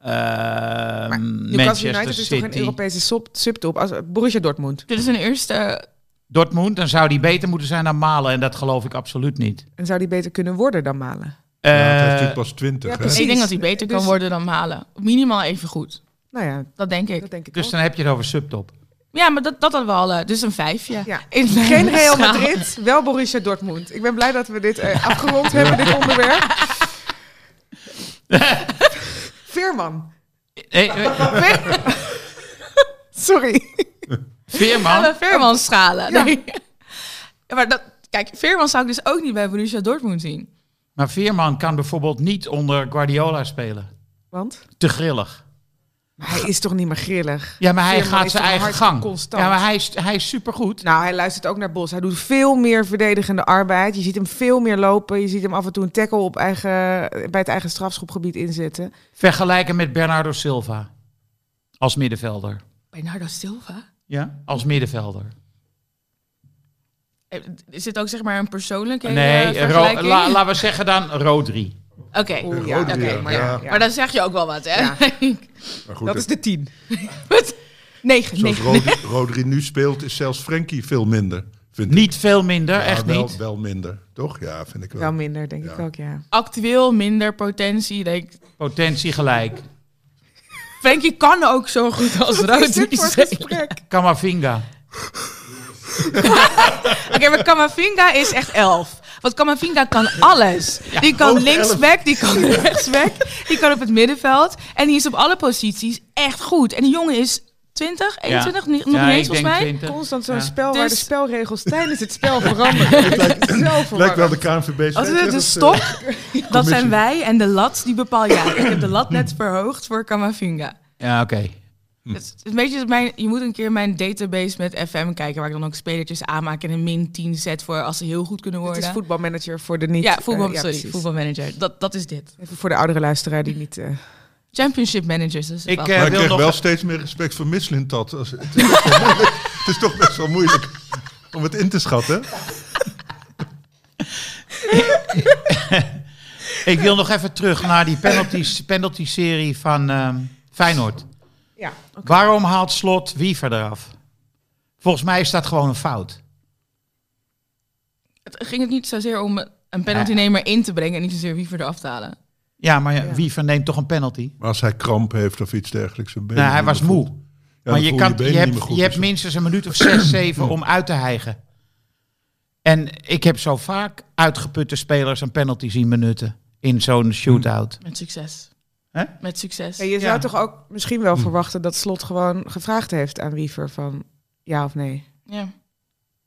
Speaker 1: eh,
Speaker 5: Newcastle
Speaker 1: Manchester
Speaker 5: United is toch
Speaker 1: City.
Speaker 5: een Europese sub- subtop als Borussia Dortmund.
Speaker 2: Dit is een eerste...
Speaker 1: Dortmund, dan zou die beter moeten zijn dan Malen. En dat geloof ik absoluut niet.
Speaker 5: En zou die beter kunnen worden dan Malen?
Speaker 4: Ja, het heeft
Speaker 1: Eh,
Speaker 4: natuurlijk pas 20.
Speaker 5: ja,
Speaker 4: hè?
Speaker 5: precies.
Speaker 2: Ik denk dat hij beter kan
Speaker 5: Dus-
Speaker 2: worden dan Malen. Minimaal even goed.
Speaker 5: Nou ja,
Speaker 2: Dat denk ik.
Speaker 5: dat denk ik
Speaker 1: dus
Speaker 5: wel.
Speaker 1: dan heb je het over subtop.
Speaker 2: Ja, maar dat, dat hadden we al. eh, Dus een vijfje.
Speaker 5: Ja.
Speaker 2: In mijn
Speaker 5: Geen Real
Speaker 2: schaal.
Speaker 5: Madrid, wel Borussia Dortmund. Ik ben blij dat we dit eh, afgerond hebben, dit
Speaker 1: <laughs>
Speaker 5: onderwerp. Veerman.
Speaker 1: Eh, eh,
Speaker 5: <laughs> Sorry.
Speaker 2: Alle
Speaker 1: Veerman?
Speaker 2: Veerman schalen.
Speaker 5: Ja.
Speaker 2: Nee. <laughs> Ja, maar dat, kijk, Veerman zou ik dus ook niet bij Borussia Dortmund zien.
Speaker 1: Maar Veerman kan bijvoorbeeld niet onder Guardiola spelen.
Speaker 5: Want?
Speaker 1: Te grillig.
Speaker 5: Maar hij is toch niet meer grillig?
Speaker 1: Ja, maar hij
Speaker 5: Veerman
Speaker 1: gaat
Speaker 5: is
Speaker 1: zijn
Speaker 5: toch
Speaker 1: eigen
Speaker 5: hartstikke
Speaker 1: gang.
Speaker 5: constant?
Speaker 1: Ja, maar hij is, hij is supergoed.
Speaker 5: Nou, hij luistert ook naar Bos. Hij doet veel meer verdedigende arbeid. Je ziet hem veel meer lopen. Je ziet hem af en toe een tackle op eigen, bij het eigen strafschopgebied inzetten.
Speaker 1: Vergelijken met Bernardo Silva. Als middenvelder.
Speaker 2: Bernardo Silva?
Speaker 1: Ja? Als middenvelder.
Speaker 2: Eh, Is dit ook zeg maar een persoonlijke
Speaker 1: nee,
Speaker 2: eh,
Speaker 1: Ro-
Speaker 2: vergelijking?
Speaker 1: la- laten we zeggen dan Rodri.
Speaker 2: Oké,
Speaker 5: Oeh,
Speaker 4: Rodri,
Speaker 5: oké,
Speaker 4: ja.
Speaker 5: maar
Speaker 4: Ja.
Speaker 5: ja, ja.
Speaker 2: maar dan zeg je ook wel wat, hè? <laughs>
Speaker 5: Ja.
Speaker 4: Maar goed,
Speaker 5: dat is dus de tien.
Speaker 2: Wat? Negen,
Speaker 4: zoals
Speaker 2: negen.
Speaker 4: Rodri, Rodri nu speelt, is zelfs Frenkie veel minder. Vind ik.
Speaker 1: Niet veel minder,
Speaker 4: Ja,
Speaker 1: echt
Speaker 4: wel,
Speaker 1: niet.
Speaker 4: Wel minder, toch? Ja, vind ik wel.
Speaker 5: Wel minder, denk
Speaker 4: Ja.
Speaker 5: ik ook, ja.
Speaker 2: Actueel minder potentie. Denk. ik.
Speaker 1: Potentie gelijk.
Speaker 2: Frankie kan ook zo goed als
Speaker 5: Is dit
Speaker 2: Rodri.
Speaker 5: voor
Speaker 2: zeg.
Speaker 5: gesprek?
Speaker 1: Kamavinga.
Speaker 2: Oké, maar Kamavinga is echt elf. Want Kamavinga kan alles. die
Speaker 4: ook
Speaker 2: kan
Speaker 4: elf.
Speaker 2: linksback, die kan <laughs> rechtsback, die kan op het middenveld. En die is op alle posities echt goed. En die jongen is 20, 21, niet- nog
Speaker 1: Ja,
Speaker 2: niet
Speaker 1: ik
Speaker 2: eens volgens
Speaker 1: denk
Speaker 2: mij.
Speaker 1: 20.
Speaker 5: Constant zo'n
Speaker 1: Ja.
Speaker 5: spel waar de
Speaker 2: Dus-
Speaker 5: spelregels tijdens het spel veranderen. Het lijkt,
Speaker 4: Het lijkt wel de KNVB.
Speaker 2: Als het de stok,
Speaker 5: <laughs>
Speaker 2: dat zijn wij. En de lat, die bepaal jij. Ik heb de
Speaker 5: <laughs>
Speaker 2: lat net verhoogd voor Kamavinga.
Speaker 1: Ja, oké. Hm.
Speaker 2: Het is een beetje mijn, je moet een keer mijn database met FM kijken, waar ik dan ook spelertjes aanmaak en een min 10 set voor als ze heel goed kunnen
Speaker 5: Het
Speaker 2: worden.
Speaker 5: is voetbalmanager voor de niet...
Speaker 2: ja,
Speaker 5: eh,
Speaker 2: voetbal,
Speaker 5: ja,
Speaker 2: sorry,
Speaker 5: precies.
Speaker 2: voetbalmanager. Dat, dat is dit.
Speaker 5: Even voor de oudere luisteraar die niet... eh,
Speaker 2: Championship managers. Dat is het
Speaker 1: Ik,
Speaker 2: wel.
Speaker 1: eh,
Speaker 4: Maar ik
Speaker 1: wil
Speaker 4: kreeg
Speaker 1: nog-
Speaker 4: wel steeds meer respect voor Mislintat. Als- Het, is best wel moeilijk. het is toch best wel moeilijk om het in te schatten.
Speaker 1: Ik wil nog even terug naar die penalty, penalty serie van ehm, Feyenoord.
Speaker 5: ja,
Speaker 1: Waarom haalt Slot Wiever eraf? Volgens mij is dat gewoon een fout.
Speaker 2: Het ging het niet zozeer om een
Speaker 1: Eh.
Speaker 2: penaltynemer in te brengen en niet zozeer wie voor eraf te halen.
Speaker 1: Ja, maar
Speaker 5: Ja.
Speaker 1: Wiever neemt toch een penalty?
Speaker 4: Maar als hij kramp heeft of iets dergelijks. zijn benen
Speaker 1: Nou, hij
Speaker 4: niet
Speaker 1: was
Speaker 4: meer goed.
Speaker 1: moe.
Speaker 4: Ja,
Speaker 1: maar
Speaker 4: dan
Speaker 1: je,
Speaker 4: voel
Speaker 1: kan,
Speaker 4: benen
Speaker 1: je,
Speaker 4: niet
Speaker 1: hebt,
Speaker 4: meer goed
Speaker 1: je hebt
Speaker 4: en zo.
Speaker 1: minstens een minuut of
Speaker 4: <clears throat>
Speaker 1: zes, zeven om uit te hijgen. En ik heb zo vaak uitgeputte spelers een penalty zien benutten in
Speaker 4: Hm.
Speaker 1: zo'n shootout.
Speaker 2: Met succes.
Speaker 1: Hè?
Speaker 2: Met succes.
Speaker 5: En je
Speaker 1: Ja.
Speaker 5: zou toch ook misschien
Speaker 4: Hm.
Speaker 5: wel verwachten dat Slot gewoon gevraagd heeft aan Wiever van ja of nee.
Speaker 2: Ja.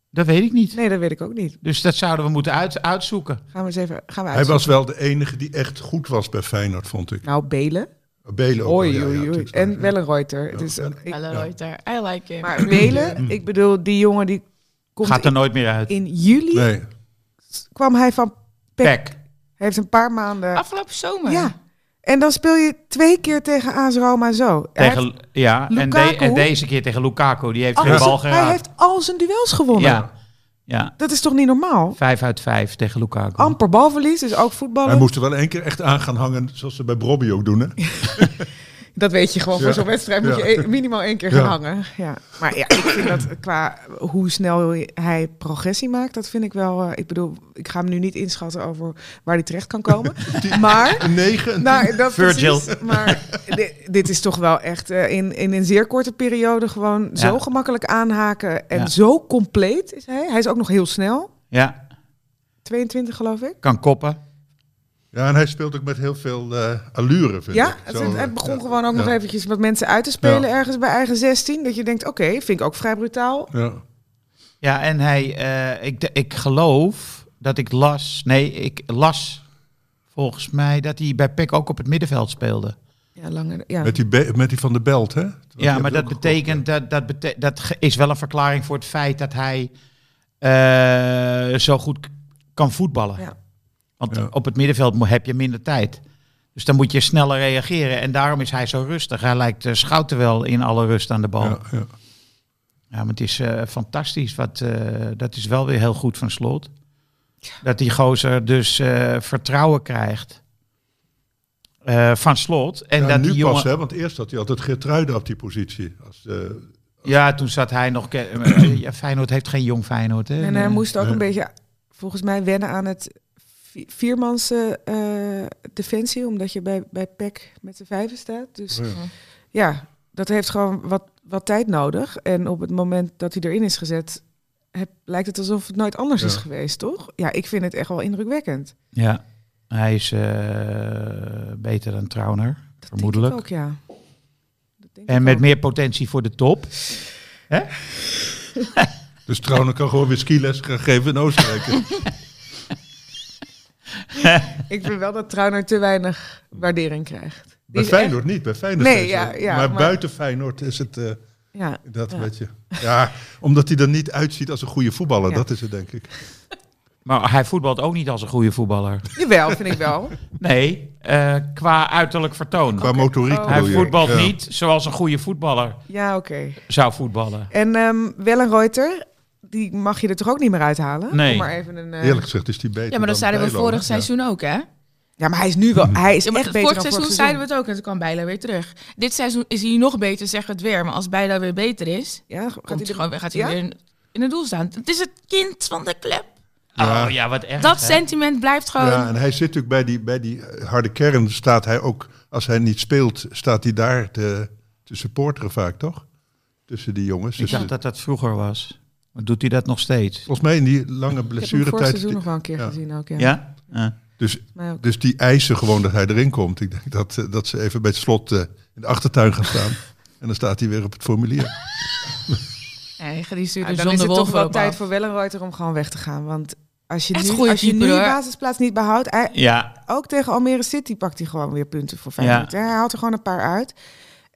Speaker 1: Dat weet ik niet.
Speaker 5: Nee, dat weet ik ook niet.
Speaker 1: Dus dat zouden we moeten uit, uitzoeken.
Speaker 5: Gaan we eens even gaan we
Speaker 4: Hij
Speaker 5: uit.
Speaker 4: was wel de enige die echt goed was bij Feyenoord, vond ik.
Speaker 5: Nou, Belen.
Speaker 4: Belen ook. wel, ja,
Speaker 5: Oei,
Speaker 4: ja,
Speaker 5: oei, oei.
Speaker 4: natuurlijk.
Speaker 5: En Wellenreuter.
Speaker 4: Ja. Mm.
Speaker 5: Dus, eh, ik-
Speaker 2: Hallo Reuter. I like him.
Speaker 5: maar Belen, ik bedoel, die jongen die komt
Speaker 1: Gaat er nooit meer uit.
Speaker 5: in juli.
Speaker 4: Nee,
Speaker 5: Kwam hij van... Pek.
Speaker 1: Pek.
Speaker 5: Hij heeft een paar maanden...
Speaker 2: <clears throat> Afgelopen zomer.
Speaker 5: Ja. En dan speel je twee keer tegen AS Roma zo. Hij heeft-
Speaker 1: Tegen, ja, en, de-
Speaker 5: Lukaku.
Speaker 1: en deze keer tegen Lukaku. Die heeft
Speaker 5: al
Speaker 1: geen
Speaker 5: zijn-
Speaker 1: bal
Speaker 5: hij
Speaker 1: geraakt.
Speaker 5: heeft al zijn duels gewonnen.
Speaker 1: Ja, ja,
Speaker 5: Dat is toch niet normaal?
Speaker 1: vijf uit vijf tegen Lukaku.
Speaker 5: Amper balverlies, dus ook voetballen.
Speaker 4: hij moest er wel één keer echt aan gaan hangen, zoals ze bij Brobby ook doen. Hè?
Speaker 5: Dat weet je gewoon.
Speaker 4: Ja.
Speaker 5: Voor zo'n wedstrijd moet
Speaker 4: Ja.
Speaker 5: je e- minimaal één keer gaan
Speaker 4: Ja.
Speaker 5: hangen. Ja. Maar ja, ik vind dat qua hoe snel hij progressie maakt, dat vind ik wel. eh, ik bedoel, ik ga hem nu niet inschatten over waar hij terecht kan
Speaker 4: <laughs>
Speaker 5: komen. Maar.
Speaker 4: Een negen, een
Speaker 5: Nou, dat
Speaker 1: Virgil.
Speaker 5: precies, maar dit, dit is toch wel echt eh, in, in een zeer korte periode gewoon zo gemakkelijk aanhaken. En
Speaker 1: Ja.
Speaker 5: zo compleet is hij. Hij is ook nog heel snel.
Speaker 1: Ja,
Speaker 5: 22 geloof ik.
Speaker 1: kan koppen.
Speaker 4: Ja, en hij speelt ook met heel veel eh, allure, vind
Speaker 5: Ja,
Speaker 4: ik.
Speaker 5: het,
Speaker 4: Zo,
Speaker 5: het-
Speaker 4: eh,
Speaker 5: het begon
Speaker 4: ja.
Speaker 5: gewoon ook nog
Speaker 4: Ja.
Speaker 5: eventjes wat mensen uit te spelen
Speaker 4: Ja.
Speaker 5: ergens bij eigen 16. Dat je denkt, oké, vind ik ook vrij brutaal.
Speaker 4: Ja.
Speaker 1: Ja, en hij, eh, ik, de- ik geloof dat ik E las, nee, ik las volgens mij dat hij bij Peck ook op het middenveld speelde.
Speaker 5: Ja, langer. Ja.
Speaker 4: Met, die be- met die van de belt, hè?
Speaker 1: Ja, maar dat betekent, dat, dat, bete- dat ge- is wel een verklaring voor het feit dat hij eh, zo goed k- kan voetballen.
Speaker 5: Ja.
Speaker 1: Want
Speaker 4: Ja.
Speaker 1: op het middenveld mo- heb je minder tijd. Dus dan moet je sneller reageren. En daarom is hij zo rustig. Hij lijkt eh, Schouten wel in alle rust aan de bal. Ja,
Speaker 4: Ja, ja.
Speaker 1: maar het is eh, fantastisch. Wat, eh, dat is wel weer heel goed van slot. Dat die gozer dus eh, vertrouwen krijgt. eh, van slot. En
Speaker 4: Ja,
Speaker 1: dat
Speaker 4: nu
Speaker 1: die
Speaker 4: pas,
Speaker 1: jongen...
Speaker 4: hè? Want eerst had hij altijd Geertruiden op die positie. Als, eh,
Speaker 1: Ja, toen zat hij nog. ke- eh, <clears throat> ja, Feyenoord heeft geen jong Feyenoord. Hè?
Speaker 5: En hij moest ook
Speaker 4: Nee.
Speaker 5: een beetje, volgens mij, wennen aan het vi- viermanse eh, defensie. Omdat je bij, bij PEC met z'n vijven staat. Dus
Speaker 4: oh Ja.
Speaker 5: ja, dat heeft gewoon wat, wat tijd nodig. En op het moment dat hij erin is gezet, heb, lijkt het alsof het nooit anders
Speaker 4: Ja.
Speaker 5: is geweest, toch? Ja, ik vind het echt wel indrukwekkend.
Speaker 1: Ja, hij is eh, beter dan Trauner, vermoedelijk.
Speaker 5: Denk ik ook, ja. Dat denk
Speaker 1: En
Speaker 5: ik
Speaker 1: met
Speaker 5: ook.
Speaker 1: meer potentie voor de top.
Speaker 4: dus Trauner kan gewoon weer skiles gaan geven in
Speaker 5: <laughs>
Speaker 4: Oostenrijk.
Speaker 5: Ik vind wel dat Trauner te weinig waardering krijgt. Die
Speaker 4: bij
Speaker 5: is
Speaker 4: Feyenoord niet, bij Feyenoord
Speaker 5: Nee,
Speaker 4: is het-
Speaker 5: ja, ja,
Speaker 4: maar,
Speaker 5: maar-
Speaker 4: buiten Feyenoord is het eh,
Speaker 5: echt- Ja,
Speaker 4: dat
Speaker 5: Ja.
Speaker 4: weet je. Ja, omdat hij er niet uitziet als een goede voetballer.
Speaker 5: Ja.
Speaker 4: Dat is het, denk ik.
Speaker 1: Maar hij voetbalt ook niet als een goede voetballer.
Speaker 5: jawel, vind ik wel.
Speaker 1: Nee, eh, qua uiterlijk vertoon.
Speaker 4: Qua motoriek
Speaker 5: Oh.
Speaker 1: Hij
Speaker 4: bedoel je.
Speaker 1: voetbalt
Speaker 4: Ja.
Speaker 1: niet zoals een goede voetballer
Speaker 5: Ja, oké.
Speaker 1: zou voetballen.
Speaker 5: En ehm Wellenreuter, die mag je er toch ook niet meer uithalen?
Speaker 1: Nee.
Speaker 5: Om maar even een, eh,
Speaker 4: Eerlijk gezegd is die beter
Speaker 2: Ja, maar dat
Speaker 4: dan
Speaker 2: zeiden we
Speaker 4: Bijlo,
Speaker 2: vorig
Speaker 4: hè? Ja.
Speaker 2: seizoen ook, hè?
Speaker 5: Ja, maar hij is nu wel.
Speaker 4: Mm-hmm.
Speaker 5: Hij is
Speaker 2: Ja, maar
Speaker 5: echt beter
Speaker 2: vorig
Speaker 5: dan
Speaker 2: seizoen zeiden we het ook en toen kwam Bijlo weer terug. Dit seizoen is hij nog beter, zeg het weer. Maar als Bijlo weer beter is,
Speaker 5: Ja, gaat
Speaker 2: komt
Speaker 5: hij
Speaker 2: hij
Speaker 5: er
Speaker 2: gewoon weer, gaat hij
Speaker 5: Ja?
Speaker 2: weer in, in het doel staan. Het is het kind van de club.
Speaker 4: Ja.
Speaker 1: Oh ja, wat erg.
Speaker 2: Dat
Speaker 1: hè?
Speaker 2: sentiment blijft gewoon...
Speaker 4: Ja, en hij zit natuurlijk bij die, bij die eh, harde kern. Staat hij ook, als hij niet speelt, staat hij daar te, te supporteren vaak, toch? Tussen die jongens.
Speaker 1: Ik
Speaker 4: Dus,
Speaker 1: dacht dat dat vroeger was. Maar doet hij dat nog steeds?
Speaker 4: Volgens mij in die lange
Speaker 5: Ik heb hem vorig
Speaker 4: blessuretijd.
Speaker 5: seizoen nog wel een keer
Speaker 4: Ja.
Speaker 5: gezien ook. Ja.
Speaker 1: Ja? Eh.
Speaker 4: Dus,
Speaker 5: Maar ook.
Speaker 4: dus die eisen gewoon dat hij erin komt. Ik denk dat, eh, dat ze even bij het slot eh, in de achtertuin gaan staan. en dan staat hij weer op het formulier.
Speaker 2: Nee, die
Speaker 5: Ja,
Speaker 2: stuurde
Speaker 5: dan is
Speaker 2: John de
Speaker 5: het
Speaker 2: Wolf
Speaker 5: toch wel
Speaker 2: erop
Speaker 5: tijd
Speaker 2: af.
Speaker 5: voor Wellenreuter om gewoon weg te gaan. Want als je
Speaker 2: Echt
Speaker 5: nu,
Speaker 2: goeie
Speaker 5: als je nu
Speaker 2: keeper,
Speaker 5: je
Speaker 2: hoor.
Speaker 5: basisplaats niet behoudt, hij,
Speaker 1: Ja,
Speaker 5: ook tegen Almere City pakt hij gewoon weer punten voor Feyenoord. hè. Hij haalt er gewoon een paar uit.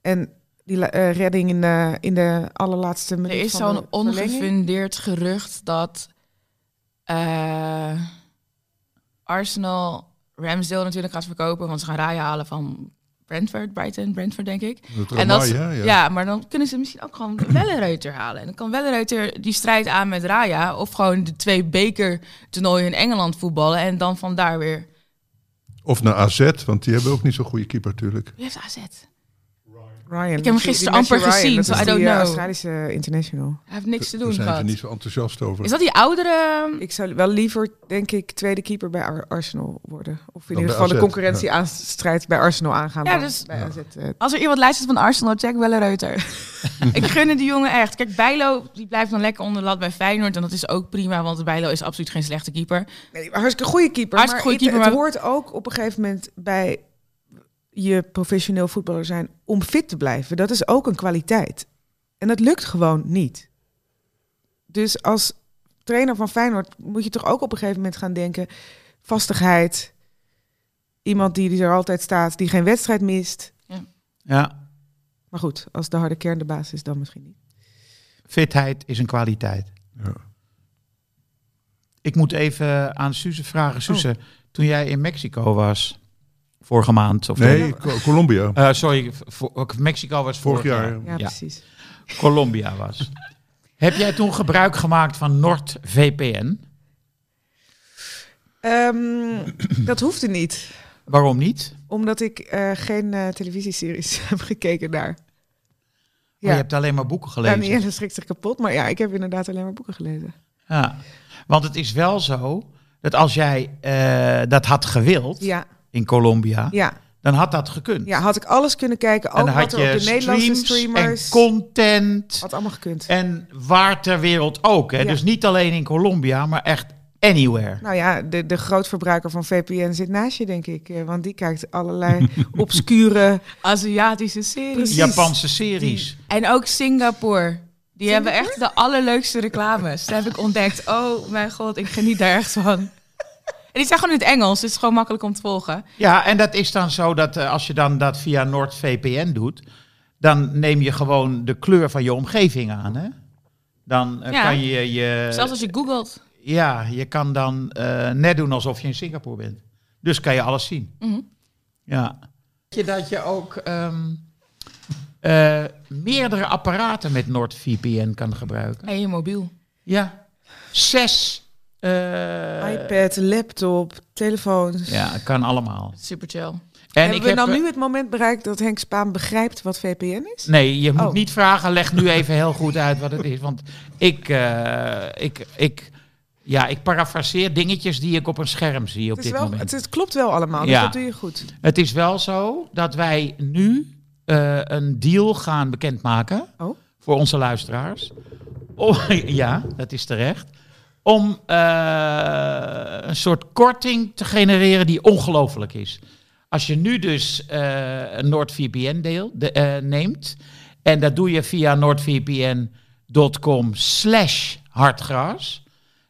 Speaker 5: En die la- eh, redding in de, in de allerlaatste minuut
Speaker 2: Er is
Speaker 5: van de
Speaker 2: zo'n
Speaker 5: verlenging.
Speaker 2: ongefundeerd gerucht dat eh, Arsenal Ramsdale natuurlijk gaat verkopen, want ze gaan Raya halen van Brentford, Brighton, Brentford denk ik.
Speaker 4: Dat
Speaker 2: en
Speaker 4: Ramai,
Speaker 2: ze-
Speaker 4: hè, ja.
Speaker 2: ja. maar dan kunnen ze misschien ook gewoon <clears throat> Wellenreuter halen. En dan kan Wellenreuter die strijd aan met Raya of gewoon de twee bekertoernooien in Engeland voetballen en dan vandaar weer.
Speaker 4: Of naar AZ, want die hebben ook niet zo'n goede keeper natuurlijk.
Speaker 2: Wie heeft AZ?
Speaker 5: Ryan,
Speaker 2: Ik heb hem gisteren amper gezien, so I
Speaker 5: de
Speaker 2: don't know.
Speaker 5: eh, Australische international.
Speaker 2: Hij heeft niks te
Speaker 4: Daar
Speaker 2: doen
Speaker 4: zijn ze
Speaker 2: gehad.
Speaker 4: niet zo enthousiast over.
Speaker 2: Is dat die oudere?
Speaker 5: Ik zou wel liever, denk ik, tweede keeper bij Ar- Arsenal worden. Of in
Speaker 4: Dan bij
Speaker 5: ieder geval de
Speaker 4: AZ,
Speaker 5: concurrentie aanstrijd bij Arsenal aangaan.
Speaker 2: Ja,
Speaker 5: dan
Speaker 2: dus-
Speaker 5: bij AZ, eh,
Speaker 2: Als er iemand luistert van Arsenal, check Wellenreuter. ik gun het die jongen echt. Kijk, Bijlo die blijft dan lekker onder de lat bij Feyenoord. En dat is ook prima, want Bijlo is absoluut geen slechte keeper.
Speaker 5: Nee, maar hartstikke goede keeper.
Speaker 2: Hartstikke
Speaker 5: maar
Speaker 2: goede
Speaker 5: het,
Speaker 2: keeper,
Speaker 5: het hoort ook op een gegeven moment bij je professioneel voetballer zijn om fit te blijven. Dat is ook een kwaliteit. En dat lukt gewoon niet. Dus als trainer van Feyenoord moet je toch ook op een gegeven moment gaan denken... vastigheid, iemand die, die er altijd staat, die geen wedstrijd mist.
Speaker 1: ja.
Speaker 5: Maar goed, als de harde kern de baas is, dan misschien niet.
Speaker 1: Fitheid is een kwaliteit.
Speaker 4: Ja.
Speaker 1: Ik moet even aan Suze
Speaker 5: Oh.
Speaker 1: vragen. Suze, toen jij in Mexico was, vorige maand of
Speaker 4: Nee, Co- Colombia.
Speaker 1: Eh, sorry, vo- Mexico was vorig,
Speaker 4: Vorig jaar.
Speaker 5: Ja, precies.
Speaker 1: Colombia
Speaker 4: <laughs>
Speaker 1: was. Heb jij toen gebruik gemaakt van NordVPN?
Speaker 5: Ehm, dat hoefde niet,
Speaker 1: Waarom niet?
Speaker 5: omdat ik eh, geen eh, televisieseries <laughs> heb gekeken daar.
Speaker 1: Oh, je hebt alleen maar boeken
Speaker 5: Ja,
Speaker 1: gelezen.
Speaker 5: Danielle <laughs> schrikt zich kapot, maar ja, ik heb inderdaad alleen maar boeken gelezen.
Speaker 1: Ja. Want het is wel zo dat als jij eh, dat had gewild
Speaker 5: Ja,
Speaker 1: in Colombia,
Speaker 5: ja,
Speaker 1: dan had dat gekund.
Speaker 5: ja. Had ik alles kunnen kijken, ook
Speaker 1: Ah. en dan
Speaker 5: wat
Speaker 1: had
Speaker 5: er op
Speaker 1: je
Speaker 5: de Nederlandse
Speaker 1: streams
Speaker 5: streamers...
Speaker 1: en content.
Speaker 5: had allemaal gekund.
Speaker 1: En waar ter wereld ook. Hè?
Speaker 5: Ja.
Speaker 1: Dus niet alleen in Colombia, maar echt anywhere.
Speaker 5: Nou ja, de, de grootverbruiker van VPN zit naast je, denk ik. eh, Want die
Speaker 1: <laughs>
Speaker 5: kijkt allerlei obscure...
Speaker 2: Aziatische series.
Speaker 5: precies. Mm.
Speaker 1: Japanse series.
Speaker 2: En ook Singapore. Die hebben echt de allerleukste reclames. Dat heb ik ontdekt. Oh mijn god, ik geniet daar echt van. En die zijn gewoon in het Engels, dus het is gewoon makkelijk om te volgen.
Speaker 1: Ja, en dat is dan zo dat eh, als je dan dat via NordVPN doet, dan neem je gewoon de kleur van je omgeving aan. Hè? Dan eh,
Speaker 2: Ja.
Speaker 1: kan je je.
Speaker 2: Zelfs als je googelt.
Speaker 1: Ja, je kan dan eh, net doen alsof je in Singapore bent. Dus kan je alles zien.
Speaker 2: Mhm.
Speaker 1: Ja. Weet je dat je ook ehm, eh, meerdere apparaten met NordVPN kan gebruiken?
Speaker 2: En je mobiel.
Speaker 1: Ja. Zes. eh,
Speaker 5: iPad, laptop, telefoons.
Speaker 1: Ja, kan allemaal.
Speaker 2: Super chill.
Speaker 1: En
Speaker 5: Hebben we dan
Speaker 1: eh,
Speaker 5: nu het moment bereikt dat Henk Spaan begrijpt wat VPN is?
Speaker 1: Nee, je moet
Speaker 5: Oh.
Speaker 1: niet vragen. Leg nu even heel goed uit wat het is. Want ik, eh, ik, ik, ja, ik parafraseer dingetjes die ik op een scherm zie op
Speaker 5: Het, is
Speaker 1: dit
Speaker 5: wel,
Speaker 1: moment.
Speaker 5: het, het klopt wel allemaal,
Speaker 1: Ja.
Speaker 5: dus dat doe je goed.
Speaker 1: Het is wel zo dat wij nu eh, een deal gaan bekendmaken
Speaker 5: Oh.
Speaker 1: voor onze luisteraars. Om, <laughs> ja, dat is terecht. Om eh, een soort korting te genereren die ongelooflijk is. Als je nu dus eh, een NordVPN deel, de, eh, neemt, en dat doe je via noordvpn.com slash hartgras,